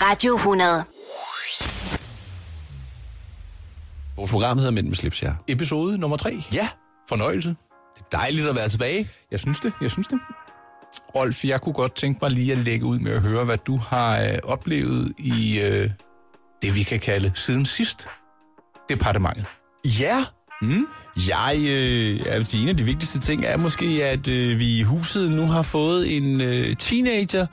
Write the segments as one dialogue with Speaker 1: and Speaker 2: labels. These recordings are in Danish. Speaker 1: Radio 100.
Speaker 2: Vores program hedder Mænd med slips, ja.
Speaker 3: Episode nummer 3.
Speaker 2: Ja,
Speaker 3: Fornøjelse.
Speaker 2: det er dejligt at være tilbage.
Speaker 3: Jeg synes det, jeg synes det. Rolf, jeg kunne godt tænke mig lige at lægge ud med at høre, hvad du har øh, oplevet i øh, det, vi kan kalde siden sidst departementet.
Speaker 2: Ja. Mm. Jeg, øh, jeg vil sige, en af de vigtigste ting er måske, at øh, vi i huset nu har fået en øh, teenager,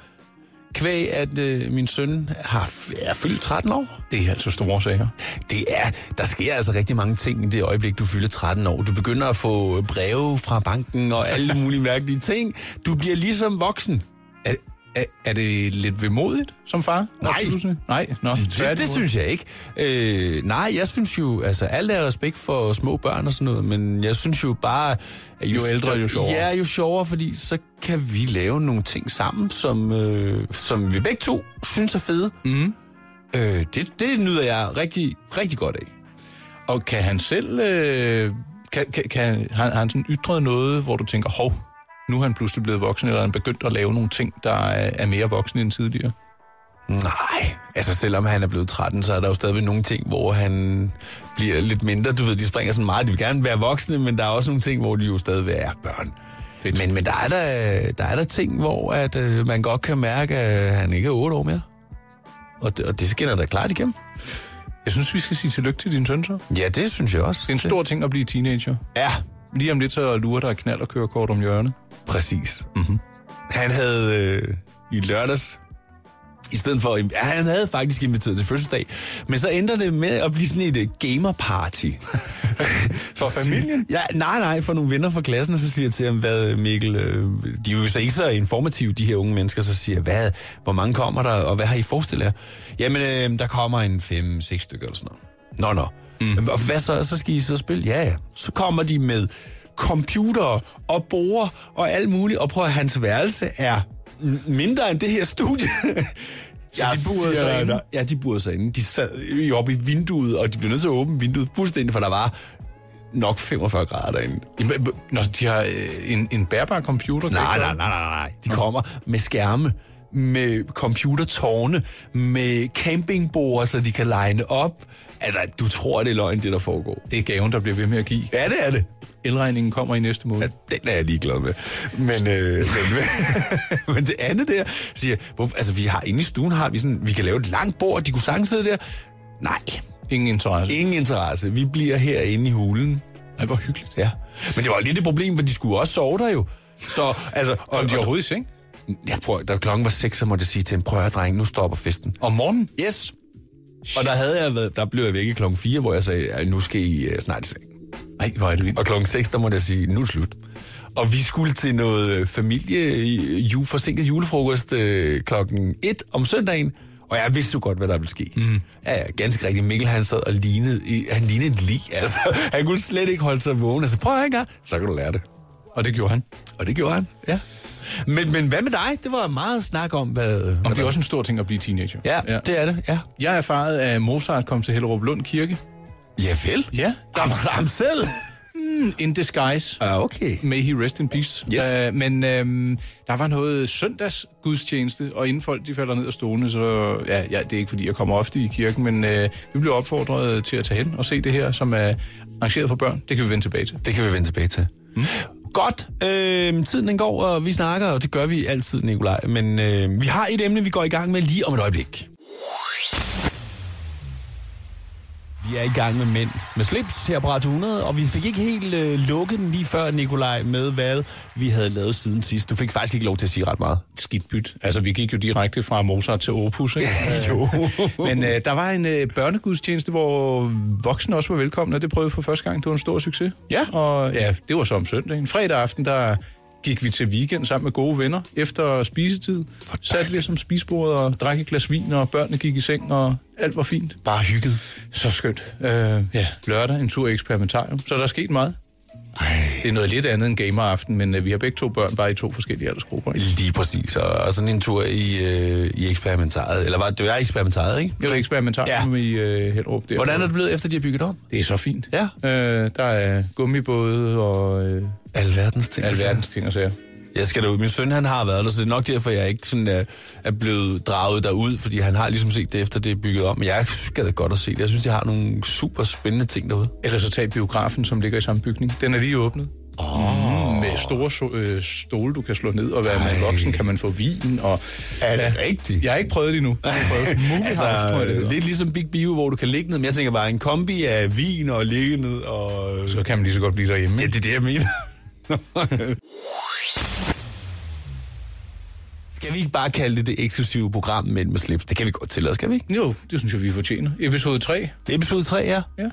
Speaker 2: kvæg at øh, min søn har f- er fyldt 13 år.
Speaker 3: Det er altså store sager.
Speaker 2: Det er, der sker altså rigtig mange ting i det øjeblik, du fylder 13 år. Du begynder at få breve fra banken og alle mulige mærkelige ting. Du bliver ligesom voksen.
Speaker 3: Er, er, er det lidt vemodigt som far? Når
Speaker 2: Nej.
Speaker 3: du siger- Nej, nå,
Speaker 2: Det, det synes jeg ikke. Øh, nej, jeg synes jo, altså alt er respekt for små børn og sådan noget, men jeg synes jo bare... At
Speaker 3: Jo ældre, jo sjovere.
Speaker 2: Ja, jo sjovere, fordi så kan vi lave nogle ting sammen, som, øh, som vi begge to synes er fede. Mm. Øh, det, det nyder jeg rigtig, rigtig godt af.
Speaker 3: Og kan han selv... Øh, kan, kan, kan, har, har han sådan ytret noget, hvor du tænker, hov, nu er han pludselig blevet voksen, eller er han begyndt at lave nogle ting, der er, er mere voksne end tidligere?
Speaker 2: Nej, altså selvom han er blevet 13, så er der jo stadigvæk nogle ting, hvor han bliver lidt mindre. Du ved, de springer sådan meget, de vil gerne være voksne, men der er også nogle ting, hvor de jo stadigvæk er børn.
Speaker 3: Fedt.
Speaker 2: Men, men der, er der, der er der ting, hvor at, øh, man godt kan mærke, at han ikke er 8 år mere. Og det, og det skinner da klart igennem.
Speaker 3: Jeg synes, vi skal sige tillykke til din søn så. Det
Speaker 2: Ja, det synes jeg også.
Speaker 3: er en stor ting at blive teenager.
Speaker 2: Ja,
Speaker 3: Lige om lidt så lurer der knald og kørekort om hjørnet.
Speaker 2: præcis. Mm-hmm. Han havde øh, i lørdags i stedet for... Ja, han havde faktisk inviteret til fødselsdag, men så ender det med at blive sådan et øh, gamer-party.
Speaker 3: For familien?
Speaker 2: Ja, nej, nej, for nogle venner fra klassen, og så siger jeg til ham, hvad Mikkel, øh, de er jo så ikke så informative, de her unge mennesker, så siger jeg, hvad, hvor mange kommer der, og hvad har I forestillet jer? Jamen, øh, der kommer en fem, seks stykker eller sådan noget. Nå, nå. Mm. Og hvad så, så skal I så spille? Ja, ja. Så kommer de med computer og borer og alt muligt, og prøv at hans værelse er n- mindre end det her studie. Så
Speaker 3: de burede sig inde?
Speaker 2: Ja, de burede sig inde. De sad jo oppe i vinduet, og de blev nødt til at åbne vinduet fuldstændig, for der var nok 45 grader derinde.
Speaker 3: Jamen, b- Når de har øh, en, en bærbar computer. kan
Speaker 2: Nej,
Speaker 3: ikke
Speaker 2: nej,
Speaker 3: godt?
Speaker 2: nej, nej, nej. De kommer med skærme, med computertårne, med campingbord, så de kan line op. Altså, du tror, det er løgn, det der foregår.
Speaker 3: Det er gaven, der bliver ved med at give.
Speaker 2: Ja, det er det.
Speaker 3: Elregningen kommer i næste måned.
Speaker 2: Ja, Den er jeg ligeglad med. Men, øh, men, men det andet der siger, hvor, altså vi har inde i stuen, har vi sådan, vi kan lave et langt bord, de kunne sagtens sidde der. Nej,
Speaker 3: Ingen interesse.
Speaker 2: ingen interesse. Vi bliver herinde i hulen.
Speaker 3: Nej, hvor hyggeligt.
Speaker 2: Ja. Men det var lidt et problem, for de skulle også sove der jo. Så, altså, og,
Speaker 3: Kom de
Speaker 2: og,
Speaker 3: overhovedet i seng?
Speaker 2: Ja, prøv, da klokken var 6, så måtte jeg sige til en prøv at høre, dreng, nu stopper festen.
Speaker 3: Om morgenen?
Speaker 2: Yes! Og der, havde jeg været, der blev jeg væk i klokken 4, hvor jeg sagde, "Ej, nu skal I uh, snart i seng.
Speaker 3: Nej, hvor er det vildt.
Speaker 2: Og klokken 6, der måtte jeg sige, nu er det slut. Og vi skulle til noget øh, familie, øh, ju, forsinket julefrokost øh, klokken 1 om søndagen. Og jeg vidste jo godt, hvad der ville ske. Mm. Ja, ja, ganske rigtigt. Mikkel, han sad og lignede, i, han lignede et lig. Altså, han kunne slet ikke holde sig vågen. Altså, prøv at høre en gang, så kan du lære det.
Speaker 3: Og det gjorde han.
Speaker 2: Og det gjorde han, ja. Men, men hvad med dig? Det var meget snak om, hvad...
Speaker 3: Om det er også en stor ting at blive teenager.
Speaker 2: Ja, ja, det er det, ja.
Speaker 3: Jeg erfarede, at Mozart kom til Hellerup Lund Kirke.
Speaker 2: Ja vel?
Speaker 3: Ja.
Speaker 2: Ham, ham selv?
Speaker 3: In disguise.
Speaker 2: Ja, okay.
Speaker 3: May he rest in peace.
Speaker 2: Yes.
Speaker 3: Øh, men øhm, der var noget søndagsgudstjeneste, og inden folk de falder ned af stolene, så... Ja, ja, det er ikke, fordi jeg kommer ofte i kirken, men øh, vi blev opfordret til at tage hen og se det her, som er arrangeret for børn. Det kan vi vende tilbage til.
Speaker 2: Det kan vi vende tilbage til. Mm. Godt. Øh, tiden den går, og vi snakker, og det gør vi altid, Nikolaj. Men øh, vi har et emne, vi går i gang med lige om et øjeblik. Vi er i gang med Mænd med slips her på Radio 100, og vi fik ikke helt øh, lukket den lige før, Nikolaj, med hvad vi havde lavet siden sidst. Du fik faktisk ikke lov til at sige ret meget.
Speaker 3: skidt byt. Altså, vi gik jo direkte fra Mozart til Opus, ikke?
Speaker 2: Jo.
Speaker 3: Men øh, der var en øh, børnegudstjeneste, hvor voksne også var velkomne, og det prøvede vi for første gang. Det var en stor succes.
Speaker 2: Ja.
Speaker 3: Og ja, det var så om søndagen. Fredag aften, der gik vi til weekend sammen med gode venner efter spisetid. Satte ligesom spisebordet og drak et glas vin, og børnene gik i seng, og alt var fint.
Speaker 2: Bare hygget.
Speaker 3: Så skønt. Øh, ja, lørdag, en tur i eksperimentarium. Så der er sket meget.
Speaker 2: Ej.
Speaker 3: Det er noget lidt andet end gameraften, men øh, vi har begge to børn, bare i to forskellige aldersgrupper. Ikke?
Speaker 2: Lige præcis, og, og sådan en tur i, øh, i eksperimentaret. Eller var det, det var eksperimentaret, ikke?
Speaker 3: Det var eksperimentarium
Speaker 2: Ja.
Speaker 3: ja. i øh, Hellerup. Der,
Speaker 2: Hvordan er det blevet, efter de har bygget om?
Speaker 3: Det er så fint.
Speaker 2: Ja.
Speaker 3: Øh, der er gummibåde og øh,
Speaker 2: Alverdens ting.
Speaker 3: alverdens ting og sager.
Speaker 2: Jeg skal derud. Min søn, han har været der, så det er nok derfor, jeg ikke sådan, er, er blevet draget derud, fordi han har ligesom set det, efter det er bygget om. Men jeg skal da godt at se det. Jeg synes, de har nogle super spændende ting derude.
Speaker 3: Eller så tag biografen, som ligger i samme bygning. Den er lige åbnet. Oh. Med store so- øh, stole, du kan slå ned, og være med
Speaker 2: Ej.
Speaker 3: voksen kan man få vin. Og...
Speaker 2: Er det rigtigt?
Speaker 3: Jeg har ikke prøvet det endnu. Jeg har prøvet Movie House, tror jeg, det
Speaker 2: Altså,
Speaker 3: hedder.
Speaker 2: lidt ligesom Big Bio, hvor du kan ligge ned, men jeg tænker bare en kombi af vin og ligge ned og...
Speaker 3: Så kan man lige så godt blive derhjemme.
Speaker 2: Ja, det er det, jeg mener. skal vi ikke bare kalde det det eksklusive program Mænd med slips? Det kan vi godt tillade, skal vi ikke?
Speaker 3: Jo, det synes jeg, vi fortjener. Episode 3.
Speaker 2: Episode 3 er,
Speaker 3: Ja.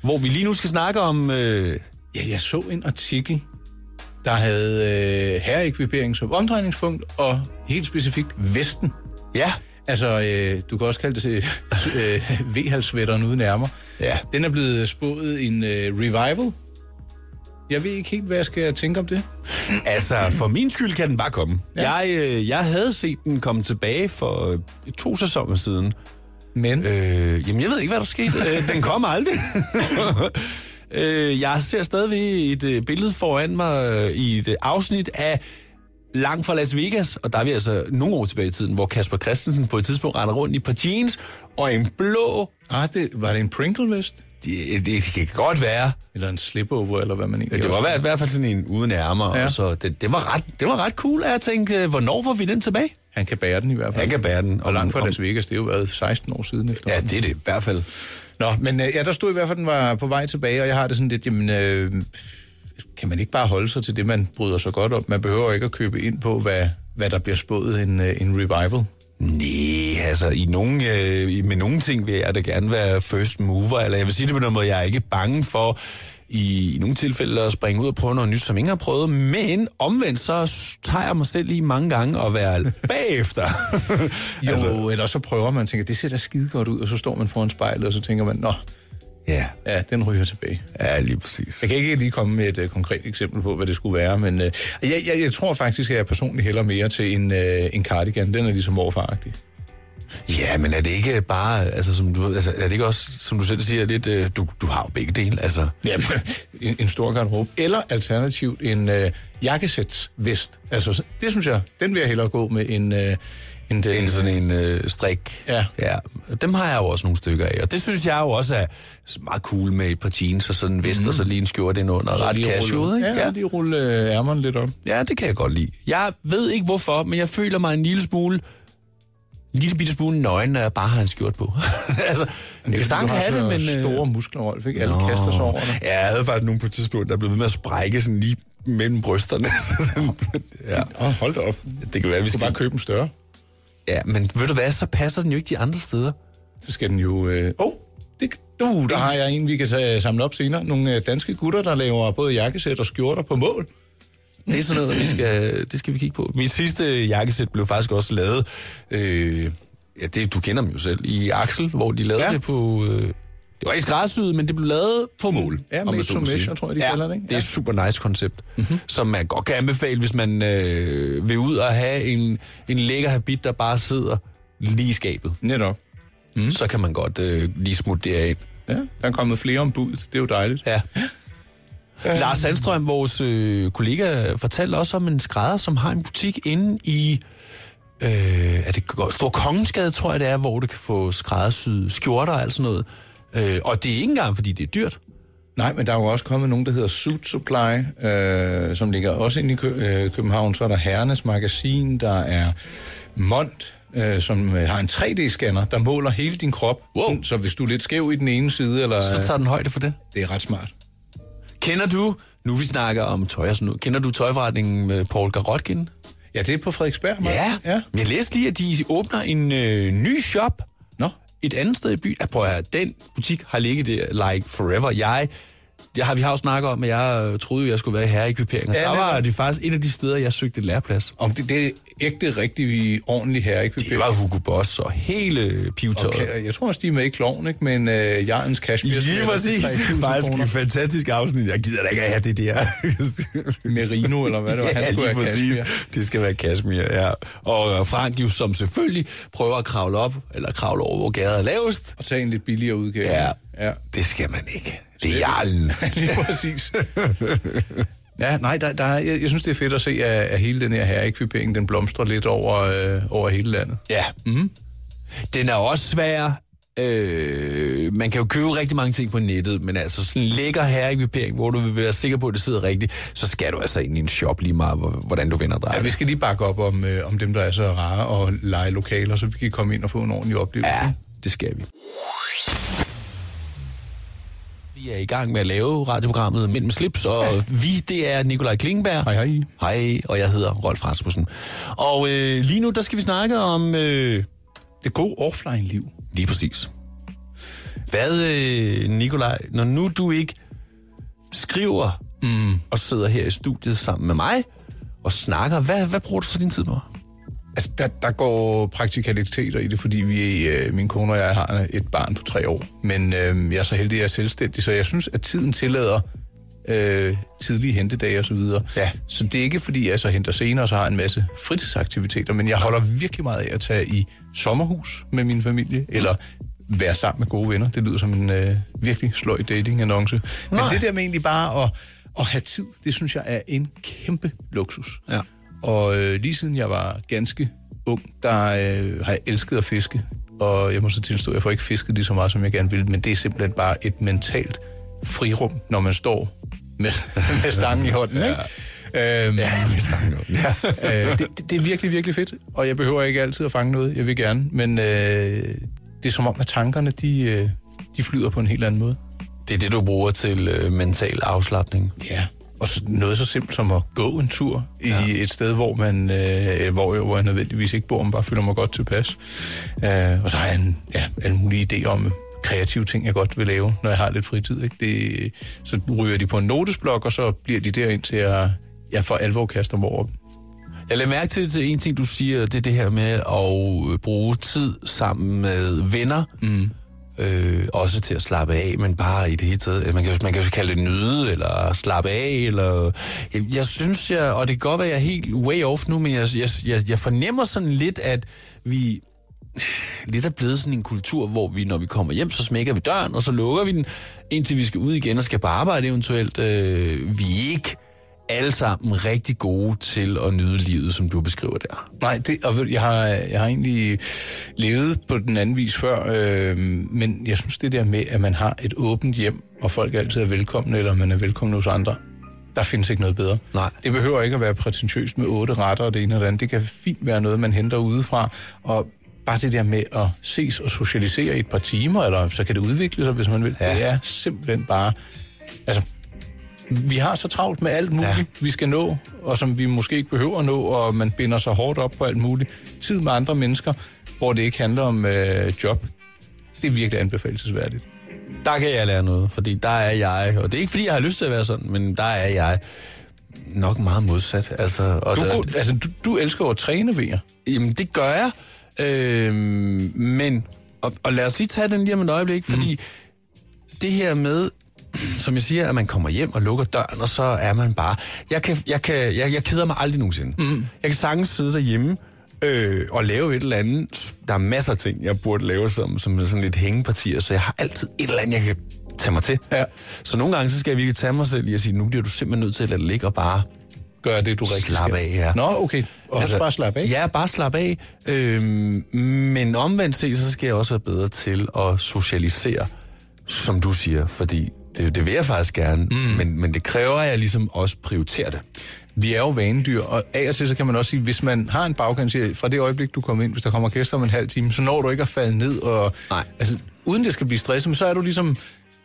Speaker 2: hvor vi lige nu skal snakke om... Øh,
Speaker 3: Ja, jeg så en artikel, der havde øh, herreekvipering som omdrejningspunkt, og helt specifikt Vesten.
Speaker 2: ja,
Speaker 3: Altså, øh, du kan også kalde det til, øh, V-halsvætteren uden ærmer.
Speaker 2: Ja.
Speaker 3: Den er blevet spået en øh, revival. Jeg ved ikke helt, hvad jeg skal tænke om det.
Speaker 2: altså for min skyld kan den bare komme. Ja. Jeg, øh, jeg havde set den komme tilbage for øh, to sæsoner siden.
Speaker 3: Men øh.
Speaker 2: Øh, jamen, jeg ved ikke, hvad der skete. Øh, den kom aldrig. øh, jeg ser stadigvæk et øh, billede foran mig øh, i et øh, afsnit af Langt fra Las Vegas, og der er vi altså nogle år tilbage i tiden, hvor Kasper Christensen på et tidspunkt render rundt i et par jeans og en blå...
Speaker 3: ah, det, var det en Pringle-vest?
Speaker 2: Det, det, det kan godt være.
Speaker 3: Eller en slipover, eller hvad man egentlig
Speaker 2: Det
Speaker 3: også-
Speaker 2: var i hvert fald sådan en uden ærmer,
Speaker 3: Ja.
Speaker 2: ja. og så det, det, var ret, det var ret cool, at jeg tænkte, øh, hvornår får vi den tilbage?
Speaker 3: Han kan bære den i hvert fald.
Speaker 2: Han kan bære den.
Speaker 3: Og langt fra Las Vegas, det er jo været 16 år siden efter.
Speaker 2: Ja, det er det i hvert fald.
Speaker 3: Nå, men øh, ja, der stod i hvert fald, at den var på vej tilbage, og jeg har det sådan lidt, jamen, øh, kan man ikke bare holde sig til det, man bryder sig godt om? Man behøver ikke at købe ind på, hvad, hvad der bliver spået en, øh, en revival.
Speaker 2: Nej, altså i nogle, øh, i- med nogle ting vil jeg da gerne være first mover, eller jeg vil sige det på den måde, jeg er ikke bange for i, i nogle tilfælde at springe ud og prøve noget nyt, som ingen har prøvet, men omvendt så s- tager jeg mig selv lige mange gange at være bagefter.
Speaker 3: Jo,
Speaker 2: Altså,
Speaker 3: altså, eller så prøver man og tænker, det ser da skide godt ud, og så står man foran spejlet, og så tænker man, nå,
Speaker 2: ja,
Speaker 3: ja, den ryger tilbage.
Speaker 2: ja, lige præcis.
Speaker 3: Jeg kan ikke lige komme med et øh, konkret eksempel på, hvad det skulle være, men øh, jeg, jeg, jeg tror faktisk, at jeg personligt hælder mere til en, øh, en cardigan. Den er ligesom morfaragtig.
Speaker 2: Ja, men er det ikke bare, altså, som du, ved, altså, er det ikke også, som du selv siger, lidt, øh, du, du har jo begge dele, altså.
Speaker 3: Jamen, en, en stor garderobe. Eller alternativt en øh, jakkesætsvest. Altså, det synes jeg, den vil jeg hellere gå med en... Øh, en, den.
Speaker 2: En sådan en øh, strik.
Speaker 3: Ja.
Speaker 2: ja. Dem har jeg jo også nogle stykker af, og det synes jeg jo også er meget cool med et par jeans og sådan en vest, mm. og så lige en skjorte ind under. Ret
Speaker 3: Mhm. lige
Speaker 2: casual,
Speaker 3: rulle,
Speaker 2: ikke?
Speaker 3: ja, ja, lige rulle øh, ærmerne lidt op.
Speaker 2: ja, det kan jeg godt lide. Jeg ved ikke hvorfor, men jeg føler mig en lille smule en lille bitte smule nøgen, når jeg bare har en skjort på. altså, jeg kan sagtens have det, men... øh,
Speaker 3: Store muskler, Rolf, ikke? Alle
Speaker 2: Nå.
Speaker 3: kaster sig over dig.
Speaker 2: Ja, jeg havde faktisk nogen på et tidspunkt, der blev ved med at sprække sådan lige mellem brysterne. Så sådan- ja,
Speaker 3: Oh, hold da op.
Speaker 2: det kan være, vi
Speaker 3: Du skal bare
Speaker 2: skal...
Speaker 3: købe en større.
Speaker 2: Ja, men ved du hvad, så passer den jo ikke de andre steder.
Speaker 3: Så skal den jo... Åh, øh... oh, det... Uh, der har jeg en, vi kan tage, samle op senere. Nogle øh, danske gutter, der laver både jakkesæt og skjorter på mål.
Speaker 2: Det er sådan noget, vi skal, det skal vi kigge på. Mit sidste jakkesæt blev faktisk også lavet, øh, ja, det, du kender dem jo selv, i Axel, hvor de lavede
Speaker 3: Ja.
Speaker 2: ja. det på... Øh, det var ikke skræddersyet, men det blev lavet på mål.
Speaker 3: Ja,
Speaker 2: om
Speaker 3: made
Speaker 2: man så
Speaker 3: to
Speaker 2: må sige.
Speaker 3: measure, tror jeg, de
Speaker 2: ja,
Speaker 3: kalder det, ikke?
Speaker 2: det er
Speaker 3: Ja.
Speaker 2: et super nice koncept, mm-hmm. som man godt kan anbefale, hvis man øh, vil ud og have en, en lækker habit, der bare sidder lige i skabet.
Speaker 3: Netop.
Speaker 2: Mm. Så kan man godt øh, lige smutte det ind.
Speaker 3: Ja, der er kommet flere ombud. Det er jo dejligt.
Speaker 2: Ja. Lars Sandstrøm, vores øh, kollega, fortalte også om en skrædder, som har en butik inde i... Øh, er det Go- Stor Kongensgade, tror jeg det er, hvor du kan få skræddersyde skjorter og alt sådan noget. Øh, og det er ikke engang, fordi det er dyrt.
Speaker 3: Nej, men der er jo også kommet nogen, der hedder Suit Supply, øh, som ligger også inde i Kø- øh, København. Så er der Herrenes Magasin, der er Mont, øh, som øh, har en 3D-scanner, der måler hele din krop.
Speaker 2: Wow.
Speaker 3: Sådan, så hvis du er lidt skæv i den ene side, eller...
Speaker 2: Så tager den højde for det.
Speaker 3: Det er ret smart.
Speaker 2: Kender du, nu vi snakker om tøj og sådan noget, kender du tøjforretningen med Paul Garotkin?
Speaker 3: Ja, det er på Frederiksberg, Mark. ja.
Speaker 2: Men Jeg læste lige, at de åbner en øh, ny shop
Speaker 3: Nå,
Speaker 2: et andet sted i byen. Ja, prøv at høre, den butik har ligget der like forever. Jeg, jeg har, vi har jo snakket om, at jeg øh, troede, jo, jeg skulle være i herreekvipering.
Speaker 3: Ja,
Speaker 2: Ja, der var
Speaker 3: netop.
Speaker 2: det faktisk et af de steder, jeg søgte en læreplads.
Speaker 3: om det, det er ægte, rigtig ordentligt her, ikke?
Speaker 2: Det var Hugo Boss og hele pivetøjet. Okay.
Speaker 3: Okay, jeg tror også, de er med i kloven, ikke? Men øh, Jarens Cashmere...
Speaker 2: Lige præcis. Faktisk et fantastisk afsnit. Jeg gider da ikke at have det der.
Speaker 3: Merino, eller hvad det var, han
Speaker 2: ja,
Speaker 3: skulle
Speaker 2: lige
Speaker 3: have
Speaker 2: præcis.
Speaker 3: Cashmere.
Speaker 2: Det skal være Kashmir, ja. Og øh, Frank jo, som selvfølgelig prøver at kravle op, eller kravle over, hvor gader er lavest.
Speaker 3: Og tage en lidt billigere udgave.
Speaker 2: Ja.
Speaker 3: ja.
Speaker 2: Det skal man ikke. Det er jarlen.
Speaker 3: Lige præcis. Ja, nej, der, der, er- jeg, jeg synes, det er fedt at se, at, at hele den her herreekvipering, den blomstrer lidt over, øh, over hele landet.
Speaker 2: Ja. Mm-hmm. Den er også svær. Øh, man kan jo købe rigtig mange ting på nettet, men altså sådan en lækker herreekvipering, hvor du vil være sikker på, at det sidder rigtigt, så skal du altså ind i en shop lige meget, hvor- hvordan du vender dig.
Speaker 3: Ja, vi skal lige bakke op om, øh, om dem, der er så rare og lege lokaler, så vi kan komme ind og få en ordentlig oplevelse.
Speaker 2: Ja, det skal vi. Vi er i gang med at lave radioprogrammet Mænd med slips, og ja. vi, det er Nikolaj Klingberg.
Speaker 3: Hej, hej.
Speaker 2: Hej, og jeg hedder Rolf Rasmussen. Og øh, lige nu, der skal vi snakke om... Øh,
Speaker 3: Det gode offline-liv.
Speaker 2: Lige præcis. Hvad, øh, Nikolaj, når nu du ikke skriver mm. og sidder her i studiet sammen med mig og snakker, hvad, hvad bruger du så din tid på?
Speaker 3: Altså, der, der går praktikaliteter i det, fordi vi, øh, min kone og jeg har et barn på tre år. Men øh, jeg er så heldig, at jeg er selvstændig, så jeg synes, at tiden tillader øh, tidlige hentedage osv.
Speaker 2: Ja.
Speaker 3: Så det er ikke, fordi jeg så henter senere og så har en masse fritidsaktiviteter, men jeg holder virkelig meget af at tage i sommerhus med min familie, eller være sammen med gode venner. Det lyder som en øh, virkelig sløj dating-annonce. Men
Speaker 2: Nej.
Speaker 3: det der med egentlig bare at, at have tid, det synes jeg er en kæmpe luksus.
Speaker 2: Ja.
Speaker 3: Og øh, lige siden jeg var ganske ung, der øh, har jeg elsket at fiske. Og jeg må så tilstå, at jeg får ikke fisket lige så meget, som jeg gerne ville, men det er simpelthen bare et mentalt frirum, når man står med, med stangen i hånden. Ikke? Ja. Øhm, ja, med stangen i hånden. Ja. øh, det, det, det er virkelig, virkelig fedt, og jeg behøver ikke altid at fange noget. Jeg vil gerne, men øh, det er som om, at tankerne de, øh, de flyder på en helt anden måde.
Speaker 2: Det er det, du bruger til øh, mental afslappning.
Speaker 3: Ja, og s- noget så simpelt som at gå en tur i ja. et sted, hvor man øh, hvor, jeg, hvor jeg nødvendigvis ikke bor, men bare føler mig godt tilpas. Øh, og så har jeg en, ja, alle mulige idéer om kreative ting, jeg godt vil lave, når jeg har lidt fritid. Ikke? Det, så ryger de på en notesblok, og så bliver de der indtil jeg, jeg for alvor kaster mig over dem.
Speaker 2: Jeg lader mærke til, til en ting, du siger, det er det her med at øh, bruge tid sammen med venner. Mm. Øh, også til at slappe af, men bare i det hele taget. Øh, Man kan, man kan jo kalde det nyde, eller slappe af, eller... Jeg, jeg synes, jeg, og det kan godt være, jeg er helt way off nu, men jeg, jeg, jeg, jeg fornemmer sådan lidt, at vi lidt er blevet sådan en kultur, hvor vi, når vi kommer hjem, så smækker vi døren, og så lukker vi den, indtil vi skal ud igen og skal på arbejde eventuelt. Øh, vi er ikke alle sammen rigtig gode til at nyde livet, som du beskriver der.
Speaker 3: Nej, det, og ved du, jeg, har, jeg har egentlig levet på den anden vis før, øh, men jeg synes det der med, at man har et åbent hjem, og folk altid er velkomne, eller man er velkommen hos andre, der findes ikke noget bedre.
Speaker 2: Nej.
Speaker 3: Det behøver ikke at være prætentiøst med otte retter og det ene og det andet. Det kan fint være noget, man henter udefra, og bare det der med at ses og socialisere i et par timer, eller så kan det udvikle sig, hvis man vil.
Speaker 2: Ja.
Speaker 3: Ja. Det er simpelthen bare... Altså, vi har så travlt med alt muligt,
Speaker 2: Ja.
Speaker 3: ja. vi skal nå, og som vi måske ikke behøver at nå, og man binder sig hårdt op på alt muligt. Tid med andre mennesker, hvor det ikke handler om øh, job. Det er virkelig anbefalesværdigt.
Speaker 2: Der kan jeg lære noget, fordi der er jeg, og det er ikke fordi, jeg har lyst til at være sådan, men der er jeg nok meget modsat. Altså, og
Speaker 3: Du, er
Speaker 2: der,
Speaker 3: god, altså, du, du elsker jo at træne, ved jeg.
Speaker 2: Jamen, det gør jeg. Øh, men, og, og lad os lige tage den lige om et øjeblik,
Speaker 3: Mhm.
Speaker 2: fordi mm. det her med, som jeg siger, at man kommer hjem og lukker døren, og så er man bare... Jeg, kan, jeg, kan, jeg, jeg keder mig aldrig nogensinde.
Speaker 3: Mhm.
Speaker 2: Mm. Jeg kan sagtens sidde derhjemme øh, og lave et eller andet. Der er masser af ting, jeg burde lave som, som sådan lidt hængepartier, så jeg har altid et eller andet, jeg kan tage mig til.
Speaker 3: Ja.
Speaker 2: Så nogle gange, så skal jeg virkelig tage mig selv i at sige, nu bliver du simpelthen nødt til at lade det ligge og bare
Speaker 3: Gør det, du rigtig
Speaker 2: Slap
Speaker 3: skal.
Speaker 2: af, ja.
Speaker 3: Nå, okay. Og altså, bare slappe af.
Speaker 2: Ja, bare slappe af. Øhm, men omvendt set, så skal jeg også være bedre til at socialisere, som du siger, fordi det, det vil jeg faktisk gerne, mm. men, men det kræver, at jeg ligesom også prioriterer det.
Speaker 3: Vi er jo vanedyr, og af og til så kan man også sige, hvis man har en bagkant, siger, fra det øjeblik, du kommer ind, hvis der kommer gæster om en halv time, så når du ikke at falde ned, og
Speaker 2: Nej.
Speaker 3: altså, uden det skal blive stresset, men så er du ligesom,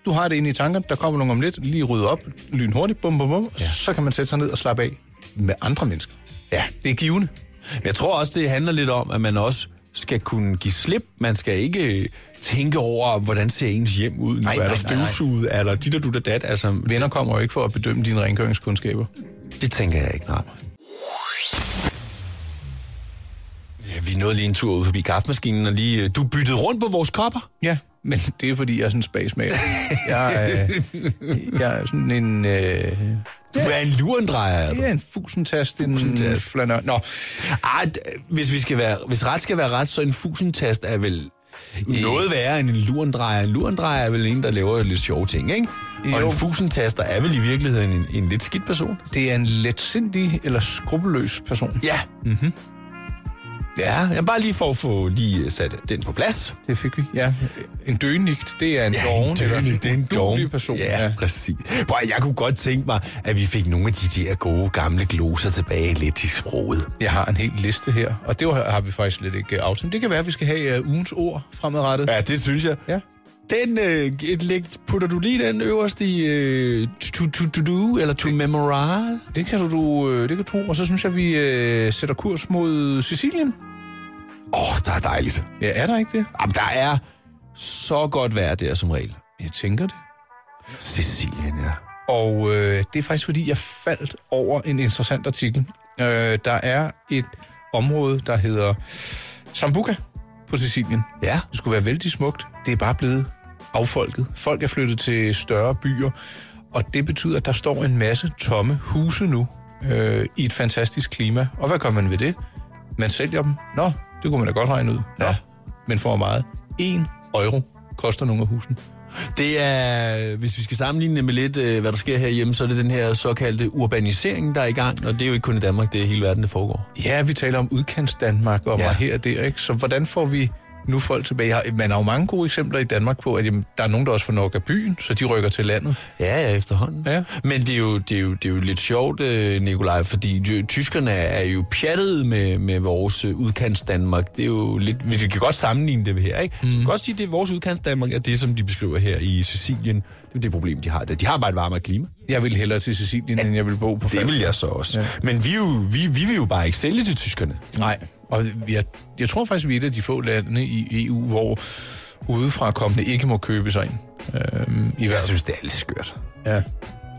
Speaker 3: du har det inde i tankerne, der kommer nogen om lidt, lige rydde op, lyn hurtigt, bum bum bum, ja. så kan man sætte sig ned og slappe af med andre mennesker.
Speaker 2: Ja.
Speaker 3: Det er givende.
Speaker 2: Men jeg tror også, det handler lidt om, at man også skal kunne give slip. Man skal ikke tænke over, hvordan ser ens hjem ud nu?
Speaker 3: Nej,
Speaker 2: er der
Speaker 3: nej, nej, nej.
Speaker 2: støvsuget? Er der dit og du der dat? Altså,
Speaker 3: Venner kommer jo ikke for at bedømme dine rengøringskundskaber.
Speaker 2: Det tænker jeg ikke, nej. Ja, vi nåede lige en tur ud forbi kaffemaskinen, og lige, øh, du byttede rundt på vores kopper.
Speaker 3: Ja, men det er fordi, jeg er sådan en spasmager. jeg, øh, jeg er sådan en... Øh,
Speaker 2: Du er en lurendrejer, er du?
Speaker 3: jeg er en fusentast, en
Speaker 2: Fusentast.
Speaker 3: flanør. Nå,
Speaker 2: Ej, d- hvis, vi skal være, hvis ret skal være ret, så en fusentast er vel Noget værre end en lurendrejer. En lurendrejer er vel en, der laver lidt sjove ting, ikke? Og
Speaker 3: Jo.
Speaker 2: en fusentaster er vel i virkeligheden en, en lidt skidt person.
Speaker 3: Det er en letsindig eller skruppelløs person.
Speaker 2: Ja. Mm-hmm. Ja, jeg bare lige for at få lige øh, sat den på plads.
Speaker 3: Det fik vi, ja. En døgenigt, det er en ja, doven, eller
Speaker 2: det er en
Speaker 3: uduelig
Speaker 2: doven.
Speaker 3: person.
Speaker 2: Ja, ja, præcis. Bro, jeg kunne godt tænke mig, at vi fik nogle af de der gode gamle gloser tilbage lidt i sproget.
Speaker 3: Jeg har en hel liste her, og det har har vi faktisk slet ikke øh, aftalt. Det kan være, at vi skal have uh, ugens ord fremadrettet.
Speaker 2: Ja, det synes jeg.
Speaker 3: Ja.
Speaker 2: Den, øh, et læg- putter du lige den øverst i øh, to, to, to do, eller to memorize?
Speaker 3: Det kan du, øh, det kan tro, og så synes jeg, at vi øh, sætter kurs mod Sicilien.
Speaker 2: Åh, oh, der er dejligt.
Speaker 3: Ja, er der ikke det?
Speaker 2: Jamen, der er så godt vejr der som regel.
Speaker 3: Jeg tænker det.
Speaker 2: Sicilien, ja.
Speaker 3: Og øh, det er faktisk, fordi jeg faldt over en interessant artikel. Øh, der er et område, der hedder Sambuca på Sicilien.
Speaker 2: Ja.
Speaker 3: Det skulle være vældig smukt. Det er bare blevet affolket. Folk er flyttet til større byer, og det betyder, at der står en masse tomme huse nu øh, i et fantastisk klima. Og hvad gør man ved det? Man sælger dem. Nå, det kunne man da godt regne ud. Nå,
Speaker 2: Ja.
Speaker 3: men for hvor meget. En euro koster nogle af husene.
Speaker 2: Det er, hvis vi skal sammenligne det med lidt, øh, hvad der sker herhjemme, så er det den her såkaldte urbanisering, der er i gang. Og det er jo ikke kun i Danmark, det er i hele verden, det foregår.
Speaker 3: Ja, vi taler om udkants Danmark og
Speaker 2: Ja.
Speaker 3: ja. her og der, ikke? Så hvordan får vi nu folk tilbage? Jeg har- Man har jo mange gode eksempler i Danmark på, at jamen, der er nogen, der også får nok af byen, så de rykker til landet.
Speaker 2: Ja, ja, efterhånden.
Speaker 3: Ja.
Speaker 2: Men det er, jo, det, er jo, det er jo lidt sjovt, øh, Nikolaj, fordi jo- tyskerne er jo pjattede med, med vores øh, udkants Danmark. Det er jo lidt, vi kan godt sammenligne det her, ikke? Mm. Så vi kan godt sige, at det er vores udkants Danmark er det, som de beskriver her i Sicilien. Det er jo det problem, de har der. De har bare et varmere klima.
Speaker 3: Jeg vil hellere til Sicilien, end jeg vil bo på
Speaker 2: Det
Speaker 3: Falster.
Speaker 2: vil jeg så også. Ja.
Speaker 3: Ja.
Speaker 2: Men vi, er jo, vi, vi vil jo bare ikke sælge til tyskerne.
Speaker 3: Nej, og jeg, jeg tror faktisk, vi er et af de få lande i EU, hvor udefra kommende ikke må købe sig ind. Øhm, I hvert fald.
Speaker 2: det er lidt skørt.
Speaker 3: Ja.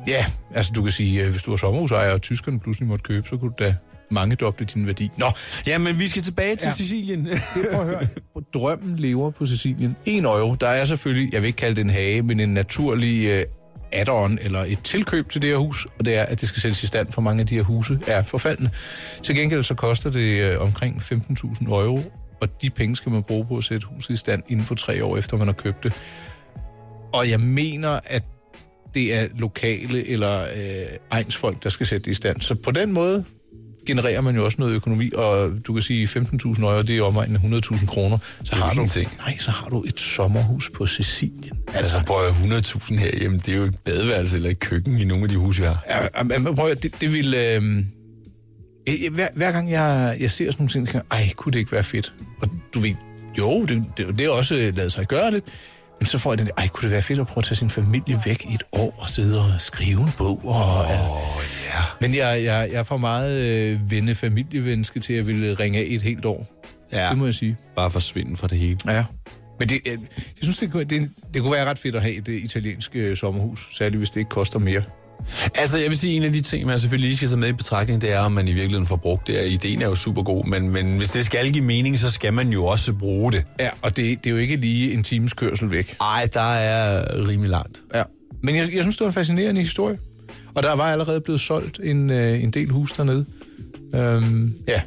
Speaker 3: ja, altså du kan sige, øh, hvis du er sommerhusejer, og tyskerne pludselig måtte købe, så kunne du da mange doble din værdi. Nå,
Speaker 2: Jamen, vi skal tilbage til ja.
Speaker 3: Ja.
Speaker 2: Sicilien.
Speaker 3: prøv at høre. Drømmen lever på Sicilien. En euro, der er selvfølgelig, jeg vil ikke kalde det en hage, men en naturlig øh, add-on eller et tilkøb til det her hus, og det er, at det skal sættes i stand, for mange af de her huse er forfaldende. Til gengæld så koster det øh, omkring 15.000 euro, og de penge skal man bruge på at sætte huset i stand inden for tre år efter, man har købt det. Og jeg mener, at det er lokale eller øh, egnsfolk, der skal sætte det i stand. Så på den måde genererer man jo også noget økonomi, og du kan sige 15.000 euro, det er i omegnen af 100.000 kroner. Så har du,
Speaker 2: ingenting.
Speaker 3: nej, så har du et sommerhus på Sicilien.
Speaker 2: altså, prøv at høre, 100.000 herhjemme, det er jo et badeværelse eller et køkken i nogle af de huse, vi har.
Speaker 3: Ja, ja, men prøv at høre, det, det vil... Øh, hver, hver gang jeg, jeg ser sådan nogle ting, så tænker jeg, ej, kunne det ikke være fedt? Og du ved, jo, det, det, det er også øh, lavet sig gøre lidt, men så får jeg den der, ej, kunne det være fedt at prøve at tage sin familie væk i et år og sidde og skrive en bog? Og, oh,
Speaker 2: ja.
Speaker 3: Men jeg, jeg, jeg er for meget øh, venne familievenske til at ville ringe af et helt år.
Speaker 2: Ja,
Speaker 3: Det må jeg sige.
Speaker 2: bare forsvinde fra det hele.
Speaker 3: Ja. Men det, øh, jeg, jeg synes, det kunne, det, det kunne være ret fedt at have det italienske øh, sommerhus, særligt hvis det ikke koster mere.
Speaker 2: Altså, jeg vil sige, en af de ting, man selvfølgelig lige skal tage med i betragtning, det er, om man i virkeligheden får brugt det. Og Ideen er jo super god, men, men hvis det skal give mening, så skal man jo også bruge det.
Speaker 3: Ja, og det, det er jo ikke lige en times kørsel væk.
Speaker 2: Ej, der er rimelig langt.
Speaker 3: Ja. Men jeg, jeg synes, det var en fascinerende historie. Og der var allerede blevet solgt en, øh, en del hus dernede. Øhm, ja,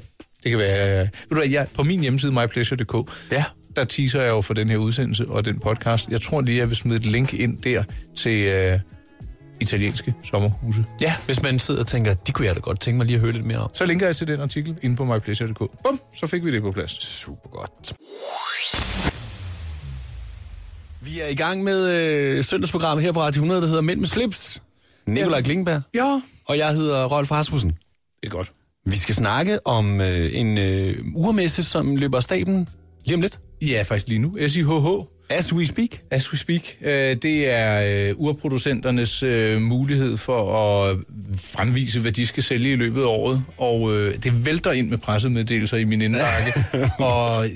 Speaker 3: det kan være... Øh, ved du hvad, jeg, på min hjemmeside, mypleasure.dk,
Speaker 2: Ja.
Speaker 3: der teaser jeg jo for den her udsendelse og den podcast. Jeg tror lige, jeg vil smide et link ind der til øh, italienske sommerhuse.
Speaker 2: Ja, hvis man sidder og tænker, de kunne jeg da godt tænke mig lige at høre lidt mere om.
Speaker 3: Så linker jeg til den artikel inde på mypleasure.dk. Bum, så fik vi det på plads.
Speaker 2: Super godt. Vi er i gang med øh, søndagsprogrammet her på Radio 100, der hedder Mænd med slips. Nikolaj Klingberg.
Speaker 3: Ja,
Speaker 2: Og jeg hedder Rolf Rasmussen.
Speaker 3: det er godt.
Speaker 2: Vi skal snakke om øh, en øh, urmesse, som løber af staben lige om lidt.
Speaker 3: Ja, faktisk lige nu. SIHH.
Speaker 2: As we speak.
Speaker 3: As we speak, øh, det er øh, urproducenternes øh, mulighed for at fremvise, hvad de skal sælge i løbet af året. Og øh, det vælter ind med pressemeddelelser i min indbakke. og øh,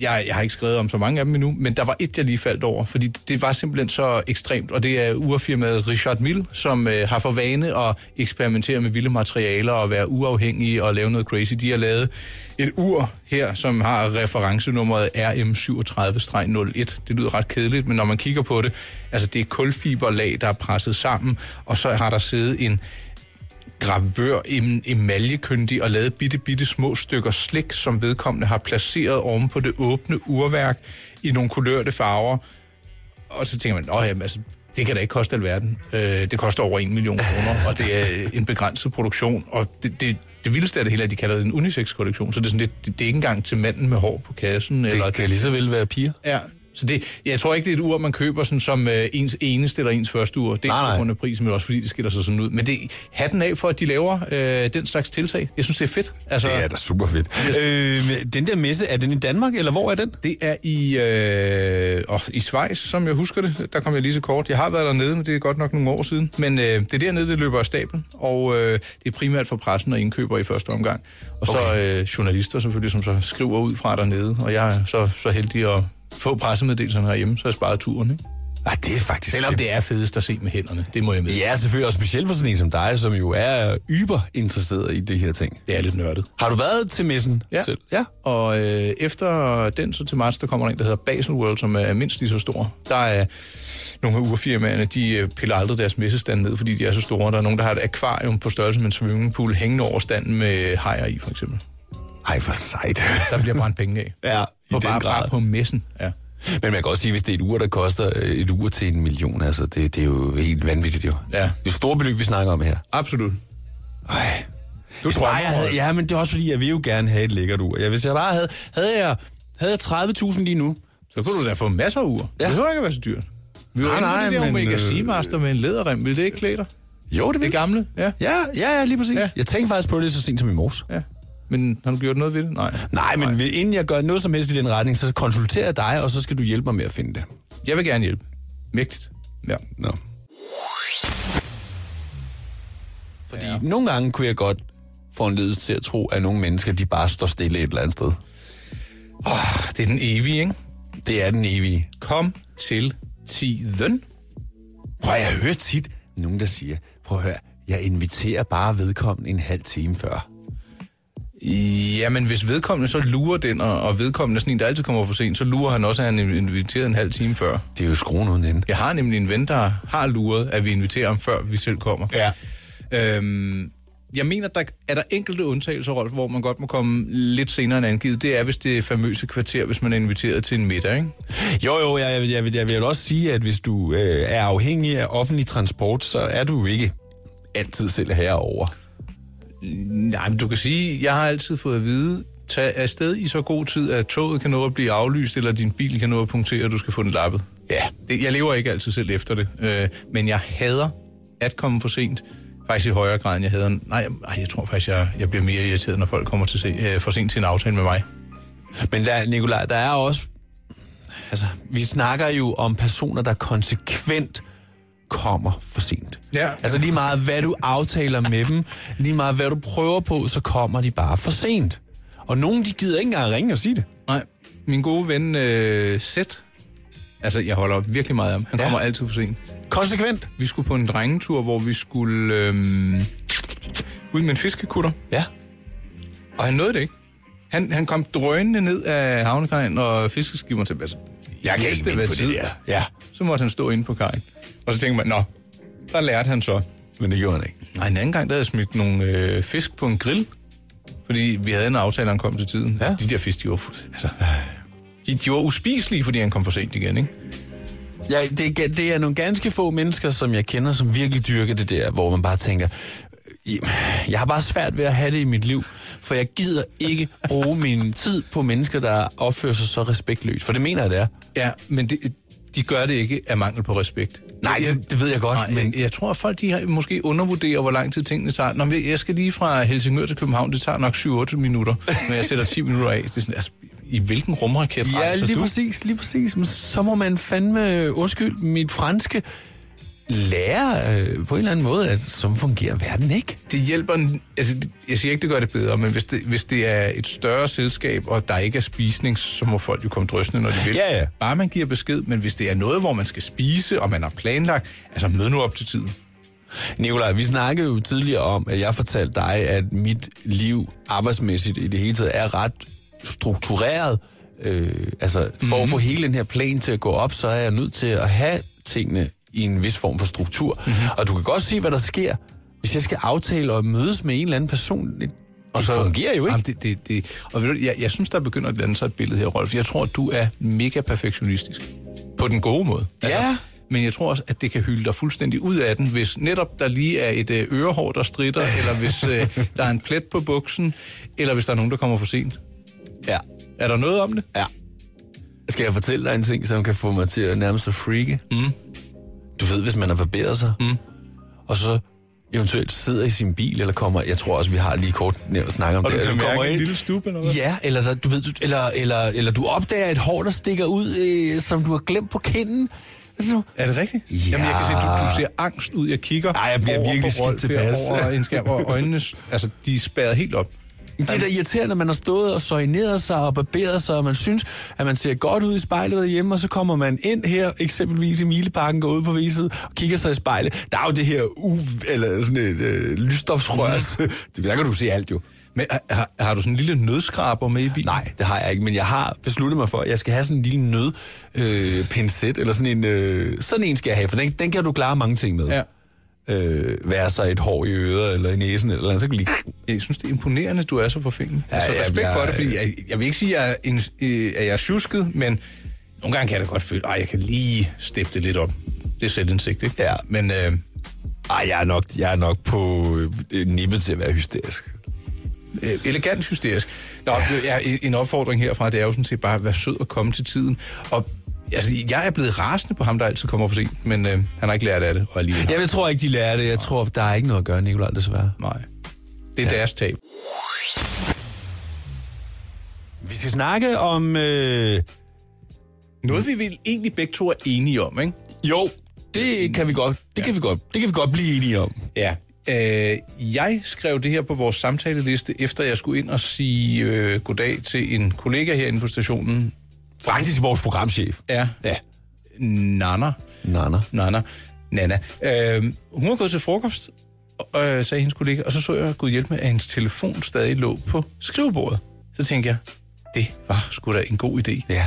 Speaker 3: jeg, jeg har ikke skrevet om så mange af dem endnu, men der var et, jeg lige faldt over, fordi det var simpelthen så ekstremt. Og det er urfirmaet Richard Mille, som øh, har for vane at eksperimentere med vilde materialer og være uafhængige og lave noget crazy. De har lavet et ur her, som har referencenummeret RM37-01. Det lyder ret kedeligt, men når man kigger på det, altså det er kulfiberlag, der er presset sammen, og så har der siddet en gravør, em- emaljekyndig og lavet bitte, bitte små stykker slik, som vedkommende har placeret oven på det åbne urværk i nogle kulørte farver. Og så tænker man, Nå, jamen, altså, det kan da ikke koste alverden. Øh, det koster over en million kroner, og det er en begrænset produktion. Og det, det, det vildeste af det hele er, at de kalder det en unisex-kollektion, så det er, sådan, det, det, det er ikke engang til manden med hår på kassen. eller
Speaker 2: Det kan lige så vel være piger.
Speaker 3: Ja, så det, jeg tror ikke, det er et ur, man køber sådan, som øh, ens eneste eller ens første ur. Det er
Speaker 2: Nej,
Speaker 3: ikke
Speaker 2: nej.
Speaker 3: på grund af prisen, men også fordi det skiller sig sådan ud. Men det hatten af for, at de laver øh, den slags tiltag. Jeg synes, det er fedt. Altså,
Speaker 2: Det er da super fedt. Øh, den der messe, er den i Danmark, eller hvor er den?
Speaker 3: det er i, øh, oh, i Schweiz, som jeg husker det. Der kom jeg lige så kort. Jeg har været dernede, men det er godt nok nogle år siden. Men øh, det er dernede, det løber af stablen, og øh, det er primært for pressen og indkøber i første omgang. Og okay. så øh, journalister selvfølgelig, som så skriver ud fra dernede. Og jeg er så, så heldig at få pressemeddelelserne herhjemme, så jeg sparer turen, ikke?
Speaker 2: Ah, det er faktisk...
Speaker 3: Selvom det er fedest at se med hænderne, det må jeg med.
Speaker 2: Ja, selvfølgelig, og specielt for sådan en som dig, som jo er yber interesseret i det her ting.
Speaker 3: Det er lidt nørdet.
Speaker 2: Har du været til messen
Speaker 3: Ja.
Speaker 2: selv? Ja.
Speaker 3: Og øh, efter den, så til marts, der kommer der en, der hedder Basel World, som er mindst lige så stor. Der er nogle af urfirmaerne, de øh, piller aldrig deres messestand ned, fordi de er så store. Der er nogen, der har et akvarium på størrelse med en swimmingpool hængende over standen med hajer i, for eksempel.
Speaker 2: Ej, for sejt.
Speaker 3: Der bliver brændt penge af.
Speaker 2: ja, i
Speaker 3: på,
Speaker 2: den grad.
Speaker 3: bare, bare på messen, ja.
Speaker 2: Men man kan også sige, hvis det er et ur, der koster øh, et ur til en million, altså, det, det er jo helt vanvittigt, jo.
Speaker 3: Ja.
Speaker 2: Det er jo store beløb, vi snakker om her.
Speaker 3: Absolut.
Speaker 2: Ej.
Speaker 3: Du
Speaker 2: Hvis
Speaker 3: drømmer
Speaker 2: bare jeg havde,
Speaker 3: højt.
Speaker 2: ja, men det er også fordi, jeg vil jo gerne have et lækkert ur. Ja, hvis jeg bare havde, havde jeg, havde jeg 30.000 lige nu,
Speaker 3: Så kunne du da få masser af ur. Ja.
Speaker 2: Ja.
Speaker 3: Det behøver ikke at være så dyrt. Vi var
Speaker 2: Nej,
Speaker 3: inde på
Speaker 2: nej,
Speaker 3: det der
Speaker 2: men,
Speaker 3: Omega
Speaker 2: øh, Mm.
Speaker 3: Seamaster med en læderrem. Vil det ikke klæde dig?
Speaker 2: jo, det vil
Speaker 3: Det
Speaker 2: jeg.
Speaker 3: gamle, ja.
Speaker 2: Ja, ja, ja, lige præcis.
Speaker 3: Ja.
Speaker 2: Ja. Jeg tænkte faktisk på det så sent som i morges.
Speaker 3: ja. Men har du gjort noget ved det? Nej.
Speaker 2: Nej, men Nej. inden jeg gør noget som helst i den retning, så konsulterer jeg dig, og så skal du hjælpe mig med at finde det.
Speaker 3: Jeg vil gerne hjælpe. Mægtigt. Ja.
Speaker 2: Nå. Fordi ja. nogle gange kunne jeg godt få en ledelse til at tro, at nogle mennesker, de bare står stille et eller andet sted.
Speaker 3: Det er den evige, ikke?
Speaker 2: Det er den evige.
Speaker 3: Kom til tiden.
Speaker 2: Prøv at jeg hører tit nogen, der siger, prøv at høre, jeg inviterer bare vedkommende en halv time før.
Speaker 3: Jamen, hvis vedkommende så lurer den, og, og vedkommende er sådan en, der altid kommer for sent, så lurer han også, at han er inviteret en halv time før.
Speaker 2: Det er jo skruen uden ende.
Speaker 3: Jeg har nemlig en ven, der har luret, at vi inviterer ham, før vi selv kommer.
Speaker 2: Ja.
Speaker 3: Øhm, jeg mener, der er der enkelte undtagelser, Rolf, hvor man godt må komme lidt senere end angivet. Det er, hvis det er famøse kvarter, hvis man er inviteret til en middag, ikke?
Speaker 2: Jo, jo, jeg, jeg, jeg, vil- jeg vil også sige, at hvis du øh, er afhængig af offentlig transport, så er du jo ikke altid selv herover.
Speaker 3: Nej, men du kan sige, jeg har altid fået at vide, tag afsted i så god tid, at toget kan nå at blive aflyst, eller din bil kan nå at punktere, og du skal få den lappet.
Speaker 2: Ja.
Speaker 3: Det, jeg lever ikke altid selv efter det, øh, men jeg hader at komme for sent. Faktisk i højere grad, end jeg hader... Nej, ej, jeg tror faktisk, jeg, jeg bliver mere irriteret, når folk kommer til se, øh, for sent til en aftale med mig.
Speaker 2: Men der, Nicolaj, der er også... Altså, vi snakker jo om personer, der konsekvent kommer for sent.
Speaker 3: Ja.
Speaker 2: Altså lige meget, hvad du aftaler med dem, lige meget, hvad du prøver på, så kommer de bare for sent. Og nogen, de gider ikke engang ringe og sige det.
Speaker 3: Nej, min gode ven øh, Seth, altså jeg holder virkelig meget af ham, han ja.
Speaker 2: Ja.
Speaker 3: kommer altid for sent.
Speaker 2: Konsekvent.
Speaker 3: Vi skulle på en drengetur, hvor vi skulle øh, ud med en fiskekutter.
Speaker 2: Ja.
Speaker 3: Og han nåede det ikke. Han, han kom drønende ned af havnekajen og fiskeskiberen til altså, vidste, hvad tid.
Speaker 2: Ja,
Speaker 3: Så måtte han stå inde på kajen. Og så tænkte man, nå, der lærte han så.
Speaker 2: men det gjorde han ikke.
Speaker 3: Nej, en anden gang, der havde jeg smidt nogle øh, fisk på en grill. Fordi vi havde en aftale, han kom til tiden. Ja. Altså, de der fisk, de var, fu- altså, de, de var uspiselige, fordi han kom for sent igen, ikke?
Speaker 2: Ja, det, er ga- det er nogle ganske få mennesker, som jeg kender, som virkelig dyrker det der, hvor man bare tænker, "Jamen, jeg har bare svært ved at have det i mit liv, for jeg gider ikke bruge min tid på mennesker, der opfører sig så respektløst. For det mener jeg, det er.
Speaker 3: Ja, men det, de gør det ikke af mangel på respekt.
Speaker 2: Nej, det, det ved jeg godt,
Speaker 3: Nej,
Speaker 2: men...
Speaker 3: men jeg tror, at folk de har, måske undervurderer, hvor lang tid tingene tager. Nå, men jeg skal lige fra Helsingør til København, det tager nok 7-8 minutter, men jeg sætter 10 minutter af. Det er sådan, altså, i hvilken rumraket
Speaker 2: Ja,
Speaker 3: rejser
Speaker 2: lige
Speaker 3: du?
Speaker 2: præcis, lige præcis. Men så må man fandme, øh, undskyld, mit franske lære øh, på en eller anden måde, at sådan fungerer verden ikke.
Speaker 3: Det hjælper, en- altså, det- jeg siger ikke, det gør det bedre, men hvis det, hvis det er et større selskab, og der ikke er spisning, så må folk jo komme drøsende, når de vil.
Speaker 2: Ja, ja.
Speaker 3: Bare man giver besked, men hvis det er noget, hvor man skal spise, og man har planlagt, altså mød nu op til tiden.
Speaker 2: Nikolaj, vi snakkede jo tidligere om, at jeg fortalte dig, at mit liv arbejdsmæssigt i det hele taget er ret struktureret. Øh, altså, for at få hele den her plan til at gå op, så er Mhm. jeg nødt til at have tingene i en vis form for struktur. Mm-hmm. Og du kan godt se, hvad der sker, Hvis jeg skal aftale at mødes med en eller anden person, det, og så, det fungerer jo ikke.
Speaker 3: Jamen, det, det, det. Og ved du, jeg, jeg synes, der begynder at lande sig et billede her, Rolf. Jeg tror, at du er mega perfektionistisk. På den gode måde. altså.
Speaker 2: Ja.
Speaker 3: Men jeg tror også, at det kan hylde dig fuldstændig ud af den, hvis netop der lige er et øh, ørehår, der stritter, eller hvis øh, der er en plet på buksen, eller hvis der er nogen, der kommer for sent.
Speaker 2: Ja.
Speaker 3: Er der noget om det?
Speaker 2: ja. Skal jeg fortælle dig en ting, som kan få mig til at nærmest at freake? Mm. Du ved, hvis man har barberet sig, mm. og så eventuelt sidder i sin bil, eller kommer, jeg tror også, vi har lige kort nævnt snak om
Speaker 3: Og du
Speaker 2: det,
Speaker 3: kan
Speaker 2: eller
Speaker 3: mærke en lille stup, eller hvad?
Speaker 2: Ja, eller, så- du ved, du- eller, eller, eller du opdager et hår, der stikker ud, øh, som du har glemt på kinden. Altså,
Speaker 3: Er det rigtigt?
Speaker 2: Ja.
Speaker 3: Jamen, jeg kan se, du, du ser angst ud. Jeg kigger
Speaker 2: Ej, jeg bliver
Speaker 3: over
Speaker 2: virkelig
Speaker 3: på
Speaker 2: skidt
Speaker 3: Rolf her
Speaker 2: tilpas.
Speaker 3: Over en skærm, og øjnene, altså, de er spærret helt op.
Speaker 2: Det er da irriterende, når man har stået og soigneret sig og barberet sig, og man synes, at man ser godt ud i spejlet derhjemme, og så kommer man ind her, eksempelvis i Mileparken, går ud på viset og kigger sig i spejlet. Der er jo det her u eller sådan et øh, lysstofsrørs. Det der kan du se alt jo.
Speaker 3: Men har- har, har du sådan en lille nødskraber med i bilen?
Speaker 2: Nej, det har jeg ikke, men jeg har besluttet mig for, at jeg skal have sådan en lille nødpincet, øh, pincet, eller sådan en, øh, sådan en skal jeg have, for den, den kan du klare mange ting med.
Speaker 3: Ja.
Speaker 2: Øh, være sig et hår i øret, eller i næsen, eller andet, så kan du lige
Speaker 3: Jeg synes, det er imponerende, at du er så forfængelig. Ja, altså,
Speaker 2: ja,
Speaker 3: respekt
Speaker 2: jeg-
Speaker 3: for det, fordi jeg, jeg vil ikke sige, at jeg er, en, øh, at jeg er sjusket, men nogle gange kan jeg da godt føle, at jeg kan lige steppe det lidt op. Det er selvindsigt, ikke?
Speaker 2: Ja.
Speaker 3: Men øh,
Speaker 2: Ej, jeg er nok, jeg er nok på øh, nippet til at være hysterisk.
Speaker 3: øh, elegant hysterisk. Nå, ja. en opfordring herfra, det er jo sådan set bare, at være sød og komme til tiden. Og altså, jeg er blevet rasende på ham, der altid kommer for sent, men øh, han har ikke lært af det, og alligevel.
Speaker 2: Jamen, jeg tror ikke, de lærer det. Jeg tror, der er ikke noget at gøre, Nicolaj, desværre.
Speaker 3: Nej. Det er ja. deres tab.
Speaker 2: Vi skal snakke om... Øh...
Speaker 3: Noget, vi vil egentlig begge to er enige om, ikke?
Speaker 2: Jo, det kan vi godt. Det ja. kan vi godt. Det kan vi godt blive enige om.
Speaker 3: Ja. Øh, jeg skrev det her på vores samtaleliste, efter jeg skulle ind og sige øh, goddag til en kollega herinde på stationen.
Speaker 2: Faktisk vores programchef.
Speaker 3: Ja,
Speaker 2: Ja.
Speaker 3: Nana.
Speaker 2: Nana.
Speaker 3: Nana. Nana. Øh, hun var gået til frokost, øh, sagde hendes kollega, og så så jeg, gud hjælp med, at hendes telefon stadig lå på skrivebordet. Så tænkte jeg, det var sgu da en god idé.
Speaker 2: Ja.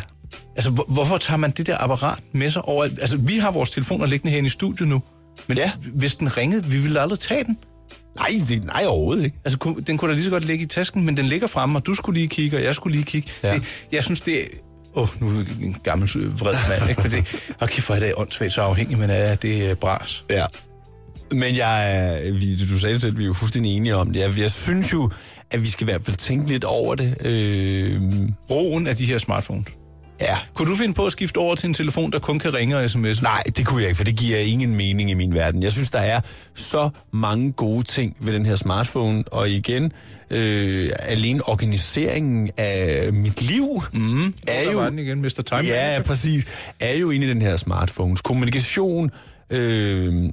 Speaker 3: Altså, hvor, hvorfor tager man det der apparat med sig over? Altså, vi har vores telefoner liggende herinde i studiet nu, men ja.
Speaker 2: Ja.
Speaker 3: hvis den ringede, vi ville aldrig tage den.
Speaker 2: Nej, det, nej overhovedet ikke.
Speaker 3: Altså, ku- den kunne da lige så godt ligge i tasken, men den ligger fremme, og du skulle lige kigge, og jeg skulle lige kigge. Ja.
Speaker 2: Ja.
Speaker 3: Det, jeg synes, det er... Åh, oh, nu er jeg en gammel øh, vred mand, ikke? Men det, og kæft, hvor er det åndssvagt så afhængig, man er af det øh, bras.
Speaker 2: Ja. Men jeg, er- vi, du sagde det selv, vi er jo fuldstændig enige om det. Jeg, jeg synes jo, at vi skal i hvert fald tænke lidt over det. Øh,
Speaker 3: Brugen af de her smartphones.
Speaker 2: ja.
Speaker 3: Kunne du finde på at skifte over til en telefon, der kun kan ringe og sms?
Speaker 2: Nej, det kunne jeg ikke, for det giver ingen mening i min verden. Jeg synes, der er så mange gode ting ved den her smartphone, og igen, øh, alene organiseringen af mit liv mm,
Speaker 3: er
Speaker 2: er
Speaker 3: jo...
Speaker 2: jo...
Speaker 3: var den igen, Mr. Time
Speaker 2: Ja,
Speaker 3: Manager.
Speaker 2: præcis. Er jo inde i den her smartphones. Kommunikation, øh,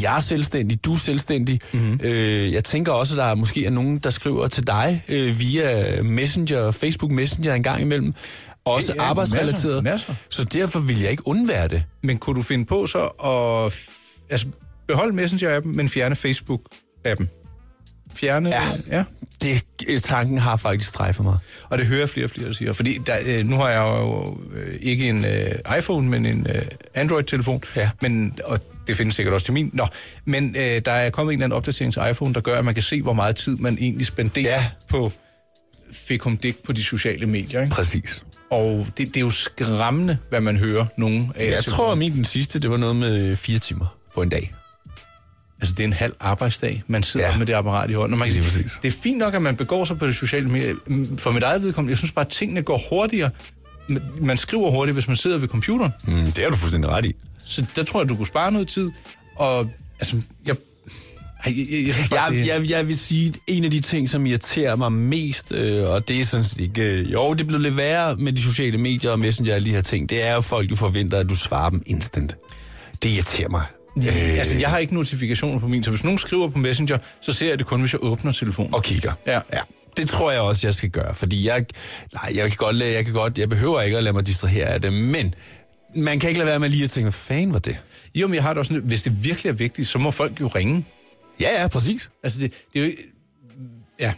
Speaker 2: jeg er selvstændig, du er selvstændig. Mm-hmm. Øh, jeg tænker også, at der er måske er nogen, der skriver til dig øh, via Messenger, Facebook Messenger en gang imellem. Også
Speaker 3: Ja,
Speaker 2: ja,
Speaker 3: ja,
Speaker 2: arbejdsrelateret.
Speaker 3: masser, masser.
Speaker 2: Så derfor vil jeg ikke undvære det.
Speaker 3: Men kunne du finde på så at f- altså, beholde Messenger-appen, men fjerne Facebook-appen? Fjerne...
Speaker 2: Ja.
Speaker 3: ja.
Speaker 2: Det, øh, tanken har faktisk strejfet mig.
Speaker 3: Og det hører jeg flere og flere, der siger. Fordi der, øh, nu har jeg jo øh, ikke en øh, iPhone, men en øh, Android-telefon.
Speaker 2: Ja.
Speaker 3: Men, og det findes sikkert også til min. Nå, men øh, der er kommet en eller anden opdatering til iPhone, der gør, at man kan se, hvor meget tid man egentlig spenderer
Speaker 2: Ja.
Speaker 3: på fikumdik på de sociale medier. Ikke?
Speaker 2: Præcis.
Speaker 3: Og det, det er jo skræmmende, hvad man hører nogen af. jer
Speaker 2: Jeg
Speaker 3: til.
Speaker 2: tror, at min den sidste, det var noget med øh, fire timer på en dag.
Speaker 3: Altså, det er en halv arbejdsdag, man sidder ja.
Speaker 2: Ja.
Speaker 3: med det apparat i hånden. Og man kan,
Speaker 2: Lige
Speaker 3: sige,
Speaker 2: præcis.
Speaker 3: det er fint nok, at man begår sig på det sociale medier. Mm, For mit eget vedkommende, jeg synes bare, at tingene går hurtigere. M- Man skriver hurtigt, hvis man sidder ved computeren.
Speaker 2: Mm, det har du fuldstændig ret i.
Speaker 3: Så der tror jeg, du kunne spare noget tid. Og altså, jeg... Ej, jeg, jeg, jeg, synes bare,
Speaker 2: Jeg,
Speaker 3: det-
Speaker 2: jeg, jeg vil sige, at en af de ting, som irriterer mig mest, øh, og det er sådan set ikke... Øh, jo, det blev lidt værre med de sociale medier og messenger og alle de her ting, det er jo, at folk jo forventer, at du svarer dem instant. Det irriterer mig.
Speaker 3: Øh, altså, jeg har ikke notifikationer på min, så hvis nogen skriver på Messenger, så ser jeg det kun, hvis jeg åbner telefonen.
Speaker 2: og kigger.
Speaker 3: Ja.
Speaker 2: ja. Det tror jeg også, jeg skal gøre, fordi jeg, nej, jeg kan godt, lade- jeg kan godt, jeg behøver ikke at lade mig distrahere af det, men man kan ikke lade være med lige at tænke, hvad fanden var det?
Speaker 3: Jo, men jeg har det også sådan, lidt, hvis det virkelig er vigtigt, så må folk jo ringe.
Speaker 2: Ja, ja, præcis.
Speaker 3: Altså, det, det er jo ikke... Ja,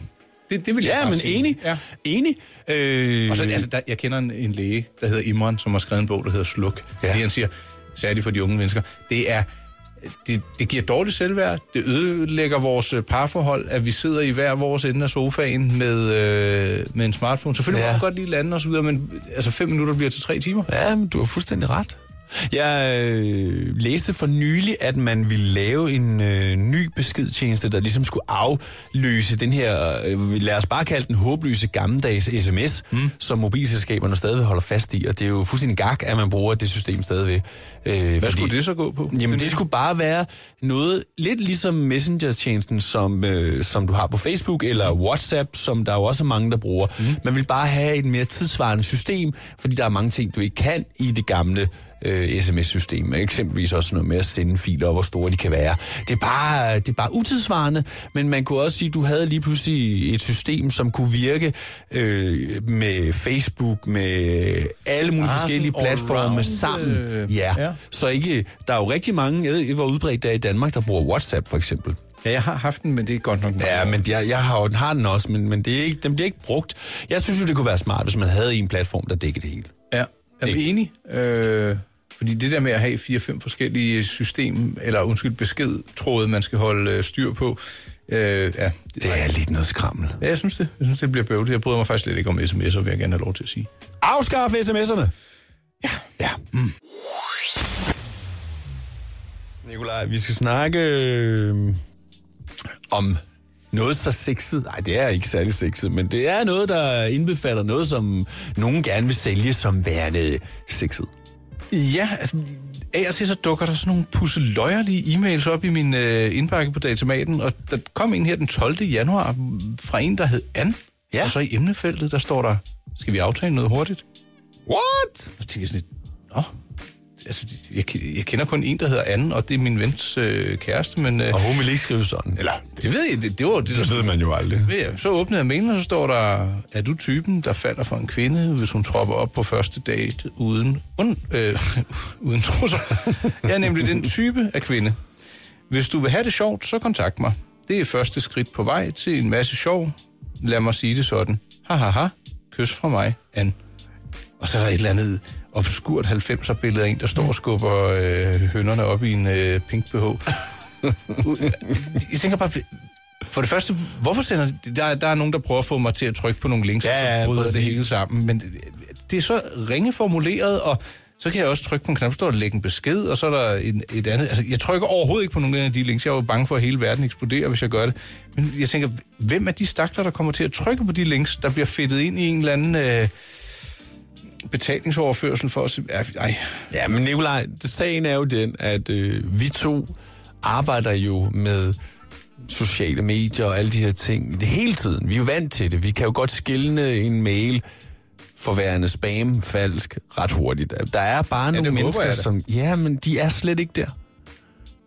Speaker 3: det, det vil jeg
Speaker 2: Ja,
Speaker 3: bare
Speaker 2: men
Speaker 3: sige.
Speaker 2: enig.
Speaker 3: Ja.
Speaker 2: Enig. Øh,
Speaker 3: Og så, altså, der, jeg kender en, en læge, der hedder Imran, som har skrevet en bog, der hedder Sluk. Ja.
Speaker 2: Ja.
Speaker 3: Fordi han siger, særligt for de unge mennesker, det er det, det giver dårligt selvværd. Det ødelægger vores øh, parforhold, at vi sidder i hver vores ende af sofaen med, øh, med en smartphone. Selvfølgelig
Speaker 2: Ja.
Speaker 3: ja. må man godt lige lande og så videre, men altså fem minutter bliver til tre timer.
Speaker 2: Ja, men du har fuldstændig ret. Jeg øh, læste for nylig, at man ville lave en øh, ny beskedtjeneste, der ligesom skulle afløse den her, øh, lad os bare kalde den håbløse gammeldags sms, mm. som mobilselskaberne stadig holder fast i. Og det er jo fuldstændig gak, at man bruger det system stadigvæk. Øh,
Speaker 3: Hvad skulle det så gå på?
Speaker 2: Jamen, det skulle bare være noget lidt ligesom Messenger-tjenesten, som, øh, som du har på Facebook, eller WhatsApp, som der jo også er mange, der bruger. Mm. Man vil bare have et mere tidsvarende system, fordi der er mange ting, du ikke kan i det gamle øh, sms-system. Eksempelvis også noget med at sende filer, og hvor store de kan være. Det er bare, det er bare utidsvarende, men man kunne også sige, at du havde lige pludselig et system, som kunne virke øh, med Facebook, med alle mulige
Speaker 3: Ah,
Speaker 2: forskellige
Speaker 3: sådan
Speaker 2: platforme
Speaker 3: allround,
Speaker 2: sammen.
Speaker 3: øh,
Speaker 2: ja. ja.
Speaker 3: ja.
Speaker 2: Så ikke, der er jo rigtig mange, jeg ved ikke, hvor udbredt der i Danmark, der bruger WhatsApp for eksempel.
Speaker 3: Ja, jeg har haft den, men det er godt nok meget.
Speaker 2: Ja, men jeg, jeg har, jo- den har den også, men, men det er ikke, den bliver ikke brugt. Jeg synes jo, det kunne være smart, hvis man havde en platform, der dækkede det hele.
Speaker 3: Ja, er du enig? Øh, fordi det der med at have fire-fem forskellige system, eller undskyld, beskedtråde, man skal holde øh, styr på, øh, ja, det,
Speaker 2: Det er lidt noget skrammel.
Speaker 3: ja, jeg synes det. Jeg synes, det bliver bøvlet. Jeg bryder mig faktisk slet ikke om sms'er, vil jeg gerne have lov til at sige.
Speaker 2: Afskaf sms'erne! Ja. ja. Mm. Nikolaj, vi skal snakke øh, om noget så sexet. Nej, det er ikke særlig sexet, men det er noget, der indbefatter noget, som nogen gerne vil sælge som værende sexet.
Speaker 3: Ja, altså, af og til så dukker der sådan nogle pusseløjerlige e-mails op i min øh, indpakke på datamaten, og der kom en her den 12. januar fra en, der hed Anne.
Speaker 2: Ja.
Speaker 3: Og så i emnefeltet, der står der, skal vi aftale noget hurtigt?
Speaker 2: What?
Speaker 3: Og så tænker jeg sådan lidt, nå, altså, jeg, jeg kender kun en, der hedder Anne, og det er min vens øh, kæreste, men øh,
Speaker 2: Og hun ville ikke skrive sådan. Eller,
Speaker 3: det ved jeg, det, det var det, der
Speaker 2: det ved man jo aldrig.
Speaker 3: ved jeg. Så åbnede jeg mailen, og så står der, er du typen, der falder for en kvinde, hvis hun tropper op på første date uden, un, øh, uden trusser? Jeg er nemlig den type af kvinde. Hvis du vil have det sjovt, så kontakt mig. Det er første skridt på vej til en masse sjov. Lad mig sige det sådan. Ha, ha, ha. Kys fra mig, Anne. Og så er der et eller andet obskurt 90'er billede af en, der står og skubber øh, hønderne op i en øh, pink BH. Jeg tænker bare, for det første, hvorfor sender de- der, der er nogen, der prøver at få mig til at trykke på nogle links,
Speaker 2: Ja,
Speaker 3: og
Speaker 2: ja,
Speaker 3: så bryder det
Speaker 2: præcis.
Speaker 3: hele sammen, men det, det er så ringe formuleret, og så kan jeg også trykke på en knap, så står der lægge en besked, og så er der en, et andet. Altså, jeg trykker overhovedet ikke på nogen af de links. Jeg er jo bange for, at hele verden eksploderer, hvis jeg gør det. Men jeg tænker, hvem er de stakler, der kommer til at trykke på de links, der bliver fedtet ind i en eller anden... Øh, betalingsoverførsel for os. Ja, ej.
Speaker 2: Ja, men Nikolaj, sagen er jo den, at øh, vi to arbejder jo med sociale medier og alle de her ting hele tiden. Vi er jo vant til det. Vi kan jo godt skille en mail forværende spam, falsk, ret hurtigt. Der er bare ja, nogle
Speaker 3: håber
Speaker 2: mennesker,
Speaker 3: jeg da.
Speaker 2: som... Ja, men de er slet ikke der.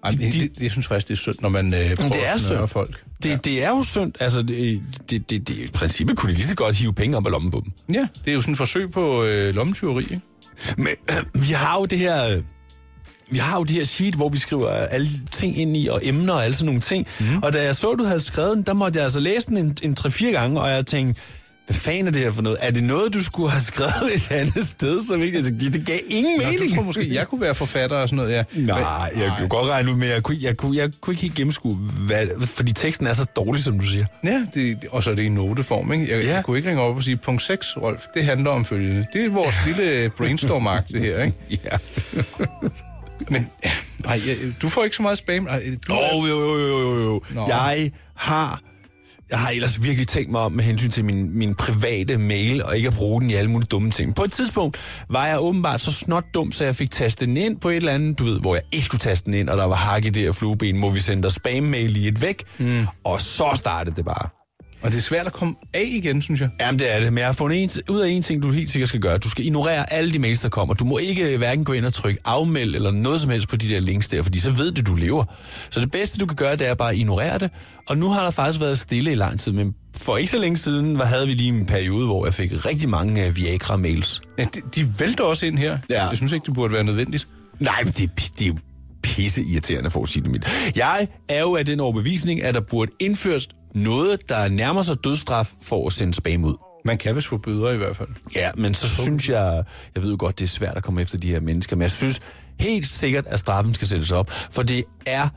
Speaker 3: Ej, men det, jeg synes faktisk, det er synd, når man øh, prøver
Speaker 2: det er
Speaker 3: at snøre
Speaker 2: synd.
Speaker 3: folk.
Speaker 2: Det, ja. det er jo synd. Altså, det, det, det, det, i princippet kunne de lige så godt hive penge op af lommen på dem.
Speaker 3: Ja, det er jo sådan et forsøg på øh, lommetyveri, ikke?
Speaker 2: Men vi har jo det her... øh, Vi har jo det her sheet, hvor vi skriver alle ting ind i, og emner og alle sådan nogle ting. Mm.
Speaker 3: Mhm.
Speaker 2: Og da jeg så, du havde skrevet den, der måtte jeg altså læse den en, en 3-4 gange, og jeg tænkte, hvad fanden er det her for noget? Er det noget, du skulle have skrevet et andet sted, som ikke... Altså, det gav ingen
Speaker 3: Nå,
Speaker 2: mening.
Speaker 3: du tror måske, jeg kunne være forfatter og sådan noget, ja.
Speaker 2: Nej, jeg kunne godt regne ud med, jeg kunne, jeg kunne, jeg kunne ikke helt gennemskue, hvad, fordi teksten er så dårlig, som du siger.
Speaker 3: Ja, det, og så er det i noteform, ikke? Jeg,
Speaker 2: Ja.
Speaker 3: ja. jeg kunne ikke ringe op og sige, punkt 6, Rolf, det handler om følgende. Det er vores lille brainstorm det her, ikke?
Speaker 2: Ja.
Speaker 3: Men, ja, nej, jeg, du får ikke så meget spam. Ej, du,
Speaker 2: Åh, oh, jo, jo, jo, jo, jo.
Speaker 3: Nå.
Speaker 2: Jeg har... Jeg har ellers virkelig tænkt mig om med hensyn til min, min private mail, og ikke at bruge den i alle mulige dumme ting. På et tidspunkt var jeg åbenbart så snot dum, så jeg fik tastet den ind på et eller andet, du ved, hvor jeg ikke skulle taste den ind, og der var hak i det her flueben, må vi sende dig spam-mail i et væk. Mm. Og så startede det bare.
Speaker 3: og det er svært at komme af igen, synes jeg.
Speaker 2: Jamen, det er det. Men jeg har fundet en, ud af en ting, du helt sikkert skal gøre. Du skal ignorere alle de mails, der kommer. Du må ikke øh, hverken gå ind og trykke afmeld eller noget som helst på de der links der, fordi så ved du, du lever. Så det bedste, du kan gøre, det er bare at ignorere det. Og nu har der faktisk været stille i lang tid, men for ikke så længe siden var, havde vi lige en periode, hvor jeg fik rigtig mange øh, Viagra-mails.
Speaker 3: Ja, de, de vælter også ind her.
Speaker 2: Ja.
Speaker 3: Jeg synes ikke, det burde være nødvendigt.
Speaker 2: Nej, men det, er pi- det er jo pisse irriterende for at sige det mildt. Jeg er jo af den overbevisning, at der burde indføres noget, der nærmer sig dødsstraf for at sende spam ud.
Speaker 3: Man kan vist få bøder i hvert fald.
Speaker 2: Ja, men så synes jeg, jeg ved jo godt, det er svært at komme efter de her mennesker, men jeg synes helt sikkert, at straffen skal sættes op, for det er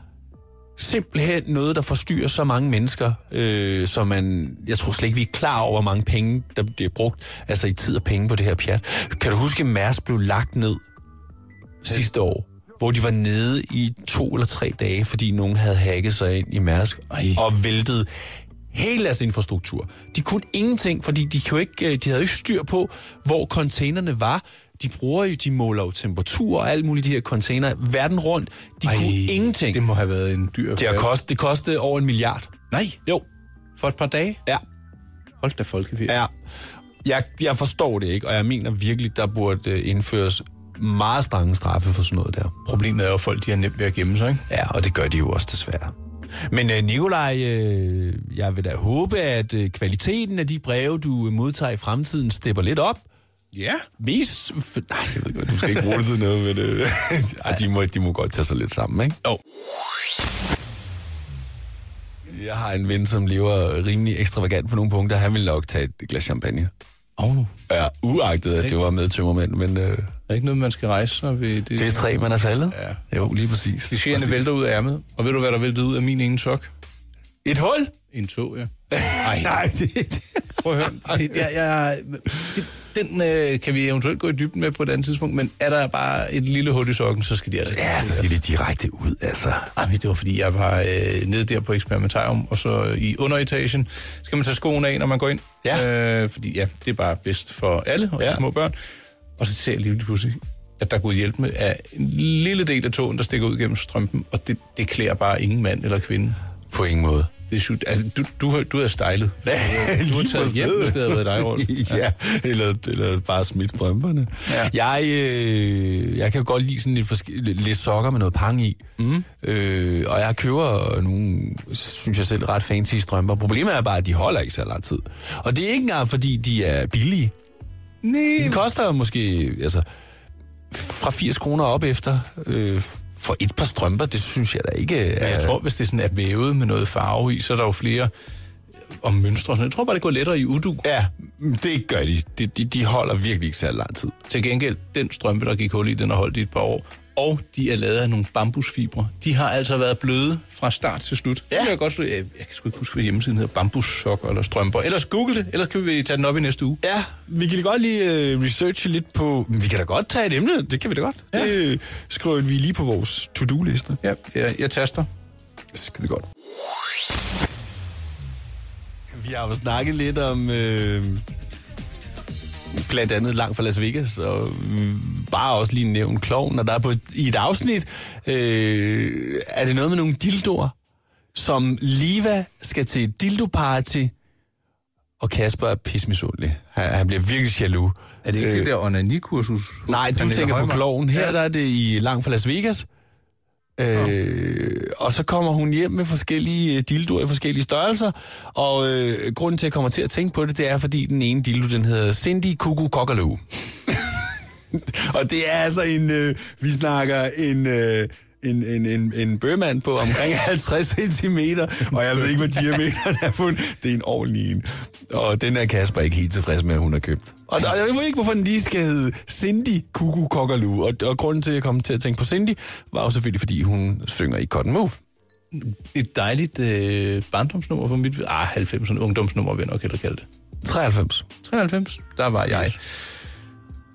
Speaker 2: simpelthen noget, der forstyrrer så mange mennesker, øh, så man, jeg tror slet ikke, vi er klar over, hvor mange penge, der bliver brugt, altså i tid og penge på det her pjat. Kan du huske, at Mærsk blev lagt ned sidste år? hvor de var nede i to eller tre dage, fordi nogen havde hacket sig ind i Mærsk
Speaker 3: Ej.
Speaker 2: og væltet hele deres infrastruktur. De kunne ingenting, fordi de, kunne ikke, øh, de havde jo ikke styr på, hvor containerne var. De bruger jo, de måler jo temperatur og alt muligt i de her container verden rundt. De Ej, kunne ingenting.
Speaker 3: Det må have været en dyr
Speaker 2: Det har kostet, det kostede over en milliard.
Speaker 3: Nej,
Speaker 2: Jo,
Speaker 3: for et par dage.
Speaker 2: ja,
Speaker 3: Hold da folkefest.
Speaker 2: ja. Jeg, jeg forstår det ikke, og jeg mener virkelig, der burde øh, indføres meget strenge straffe for sådan noget der.
Speaker 3: Problemet er jo, at folk de har nemt ved at gemme sig, ikke?
Speaker 2: Ja, og det gør de jo også desværre. Men øh, Nikolaj, øh, jeg vil da håbe, at øh, kvaliteten af de breve, du øh, modtager i fremtiden, stepper lidt op.
Speaker 3: Ja.
Speaker 2: Mest... f- Nej, jeg ved godt, du skal ikke bruge det til noget, men øh, ej, de, må, de må godt tage sig lidt sammen, ikke?
Speaker 3: Jo.
Speaker 2: Jeg har en ven, som lever rimelig ekstravagant på nogle punkter. Han ville nok tage et glas champagne.
Speaker 3: Oh,
Speaker 2: Ja, uagtet, at det var med tømmermænd, men øh,
Speaker 3: der er ikke noget, man skal rejse sig ved. Det,
Speaker 2: det er
Speaker 3: det
Speaker 2: tre, man er faldet.
Speaker 3: Ja.
Speaker 2: Jo, lige præcis.
Speaker 3: de sjerne
Speaker 2: Præcis.
Speaker 3: vælter ud af ærmet. Og ved du, hvad der væltede ud af min ene sok?
Speaker 2: Et hul?
Speaker 3: En tog, ja.
Speaker 2: Nej, det, det,
Speaker 3: Prøv at høre. Det, jeg, jeg, det, den øh, kan vi eventuelt gå i dybden med på et andet tidspunkt, men er der bare et lille hul i sokken, så skal de altså...
Speaker 2: Ja, så skal de direkte ud, altså.
Speaker 3: Ej, men det var fordi, jeg var øh, nede der på eksperimentarium, og så øh, i underetagen skal man tage skoene af, når man går ind.
Speaker 2: Ja.
Speaker 3: Øh, fordi ja, det er bare bedst for alle, og
Speaker 2: Ja.
Speaker 3: ja. små børn. Og så ser jeg lige pludselig, at der kunne hjælpe med af en lille del af tågen, der stikker ud gennem strømpen, og det, det klæder bare ingen mand eller kvinde.
Speaker 2: På ingen måde.
Speaker 3: Det er sygt. Altså, du, du, har- du er stejlet. Du
Speaker 2: Lige
Speaker 3: har
Speaker 2: på
Speaker 3: taget hjem,
Speaker 2: stedet.
Speaker 3: hvis det havde været dig rundt.
Speaker 2: ja, eller, eller bare smidt strømperne. Ja. Jeg, øh, jeg kan jo godt lide sådan lidt, forske- lidt lidt sokker med noget pang i. Mm. Øh, og jeg køber nogle, synes jeg selv, ret fancy strømper. Problemet er bare, at de holder ikke så lang tid. Og det er ikke engang, fordi de er billige.
Speaker 3: Nej,
Speaker 2: Den koster måske altså, fra 80 kroner op efter øh, for et par strømper. Det synes jeg da ikke øh,
Speaker 3: Ja,
Speaker 2: er...
Speaker 3: jeg tror, hvis det sådan er vævet med noget farve i, så er der jo flere og mønstre. og sådan noget. Jeg tror bare, det går lettere i udu.
Speaker 2: Ja, det gør de. De, de, de holder virkelig ikke særlig lang tid.
Speaker 3: Til gengæld, den strømpe, der gik hul i, den har holdt i et par år. Og de er lavet af nogle bambusfibre. De har altså været bløde fra start til slut. Ja. Det kan jeg godt slå. Jeg, jeg kan sgu ikke huske, hvad hjemmesiden hedder. Bambussokker eller strømper. Ellers google det, ellers kan vi tage den op i næste uge.
Speaker 2: Ja, vi kan da godt lige øh, researche lidt på... Vi kan da godt tage et emne, det kan vi da godt. Ja. Det øh, skriver vi lige på vores to-do-liste.
Speaker 3: Ja, jeg, jeg taster.
Speaker 2: Skide godt. Vi har jo snakket lidt om... Øh, blandt andet langt fra Las Vegas, og øh, bare også lige nævnt kloven, og der er på et, i et afsnit, øh, er det noget med nogle dildoer, som Liva skal til et dildoparty, og Kasper er pismisundelig. Han, han bliver virkelig jaloux.
Speaker 3: Er det ikke øh, det der onanikursus?
Speaker 2: Nej, du tænker på kloven. Her der er det i langt fra Las Vegas. Øh, og så kommer hun hjem med forskellige øh, dildoer i forskellige størrelser, og øh, grunden til, at jeg kommer til at tænke på det, det er, fordi den ene dildo, den hedder Cindy Kuku Kokkaloo. og det er altså en, øh, vi snakker en, øh, en, en, en, en bøgmand på omkring 50 cm, og jeg ved ikke, hvad diameteren er på den. Det er en ordentlig en. Og den er Kasper ikke helt tilfreds med, at hun har købt. Og, og jeg ved ikke, hvorfor den lige skal hedde Cindy Kuku Kokkaloo. Og, og grunden til, at jeg kom til at tænke på Cindy, var jo selvfølgelig, fordi hun synger i Cotton Move.
Speaker 3: Et dejligt øh, barndomsnummer for mit... Ah, 90'erne. Ungdomsnummer, vil jeg nok hellere kalde det.
Speaker 2: 93.
Speaker 3: 93, der var jeg.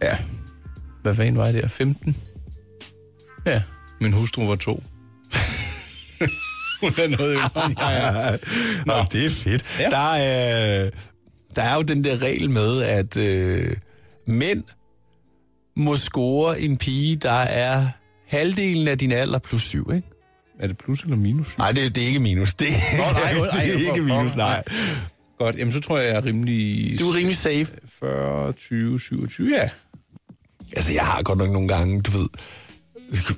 Speaker 3: Ja. Hvad fanden var jeg der? 15? Ja, min hustru var to. Hun er noget yngre end jeg er.
Speaker 2: Nå, det er fedt. Ja.
Speaker 3: Ja.
Speaker 2: Der, er, øh, der er jo den der regel med, at øh, mænd må score en pige, der er halvdelen af din alder plus syv, ikke?
Speaker 3: Er det plus eller minus?
Speaker 2: Nej, det, det er ikke minus. Det, Nå,
Speaker 3: nej, nej,
Speaker 2: det er ikke
Speaker 3: for-
Speaker 2: minus,
Speaker 3: for-
Speaker 2: nej.
Speaker 3: Godt, jamen så tror jeg, jeg er rimelig...
Speaker 2: Du er rimelig safe.
Speaker 3: 40, 20, 27, ja.
Speaker 2: Altså, jeg har godt nok nogle gange, du ved,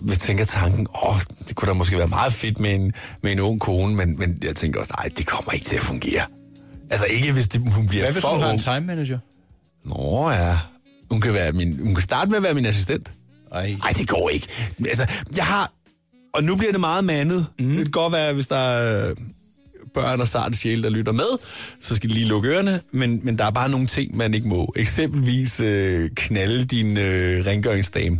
Speaker 2: jeg tænker tanken, åh, det kunne da måske være meget fedt med en, med en ung kone, men, men jeg tænker også, nej, det kommer ikke til at fungere. Altså ikke, hvis det, hun bliver
Speaker 3: Hvad hvis
Speaker 2: for
Speaker 3: hun har en
Speaker 2: ung.
Speaker 3: time manager?
Speaker 2: Nå ja, hun kan, være min, hun kan starte med at være min assistent.
Speaker 3: Ej.
Speaker 2: Nej, det går ikke. Altså, jeg har... Og nu bliver det meget mandet. Mm. Det kan godt være, hvis der er børn og sarte sjæle, der lytter med, så skal de lige lukke ørerne. Men, men der er bare nogle ting, man ikke må. Eksempelvis øh, knalde din øh, rengøringsdame.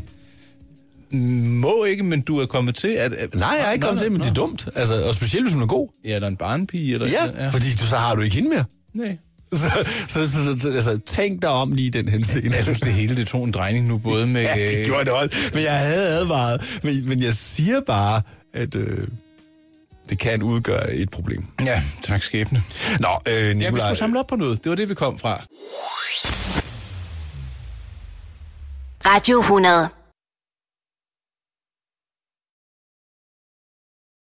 Speaker 3: Må ikke, men du er kommet til at... at
Speaker 2: Nej, jeg er ikke kommet til, men det er dumt. Altså, og specielt, hvis hun er god.
Speaker 3: Ja, der er en barnpige eller...
Speaker 2: Ja, fordi du, så har du ikke hende mere.
Speaker 3: Nej.
Speaker 2: Så, så, så, så altså, tænk dig om lige i den henseende.
Speaker 3: Jeg synes, det hele det tog en drejning nu, både med... øh,
Speaker 2: Ja, det gjorde det også. Men jeg havde advaret. Men, men jeg siger bare, at øh, det kan udgøre et problem.
Speaker 3: Ja, tak skæbne.
Speaker 2: Nå, øh,
Speaker 3: Ja, vi
Speaker 2: Nicolaj.
Speaker 3: skulle samle op på noget. Det var det, vi kom fra.
Speaker 1: Radio 100.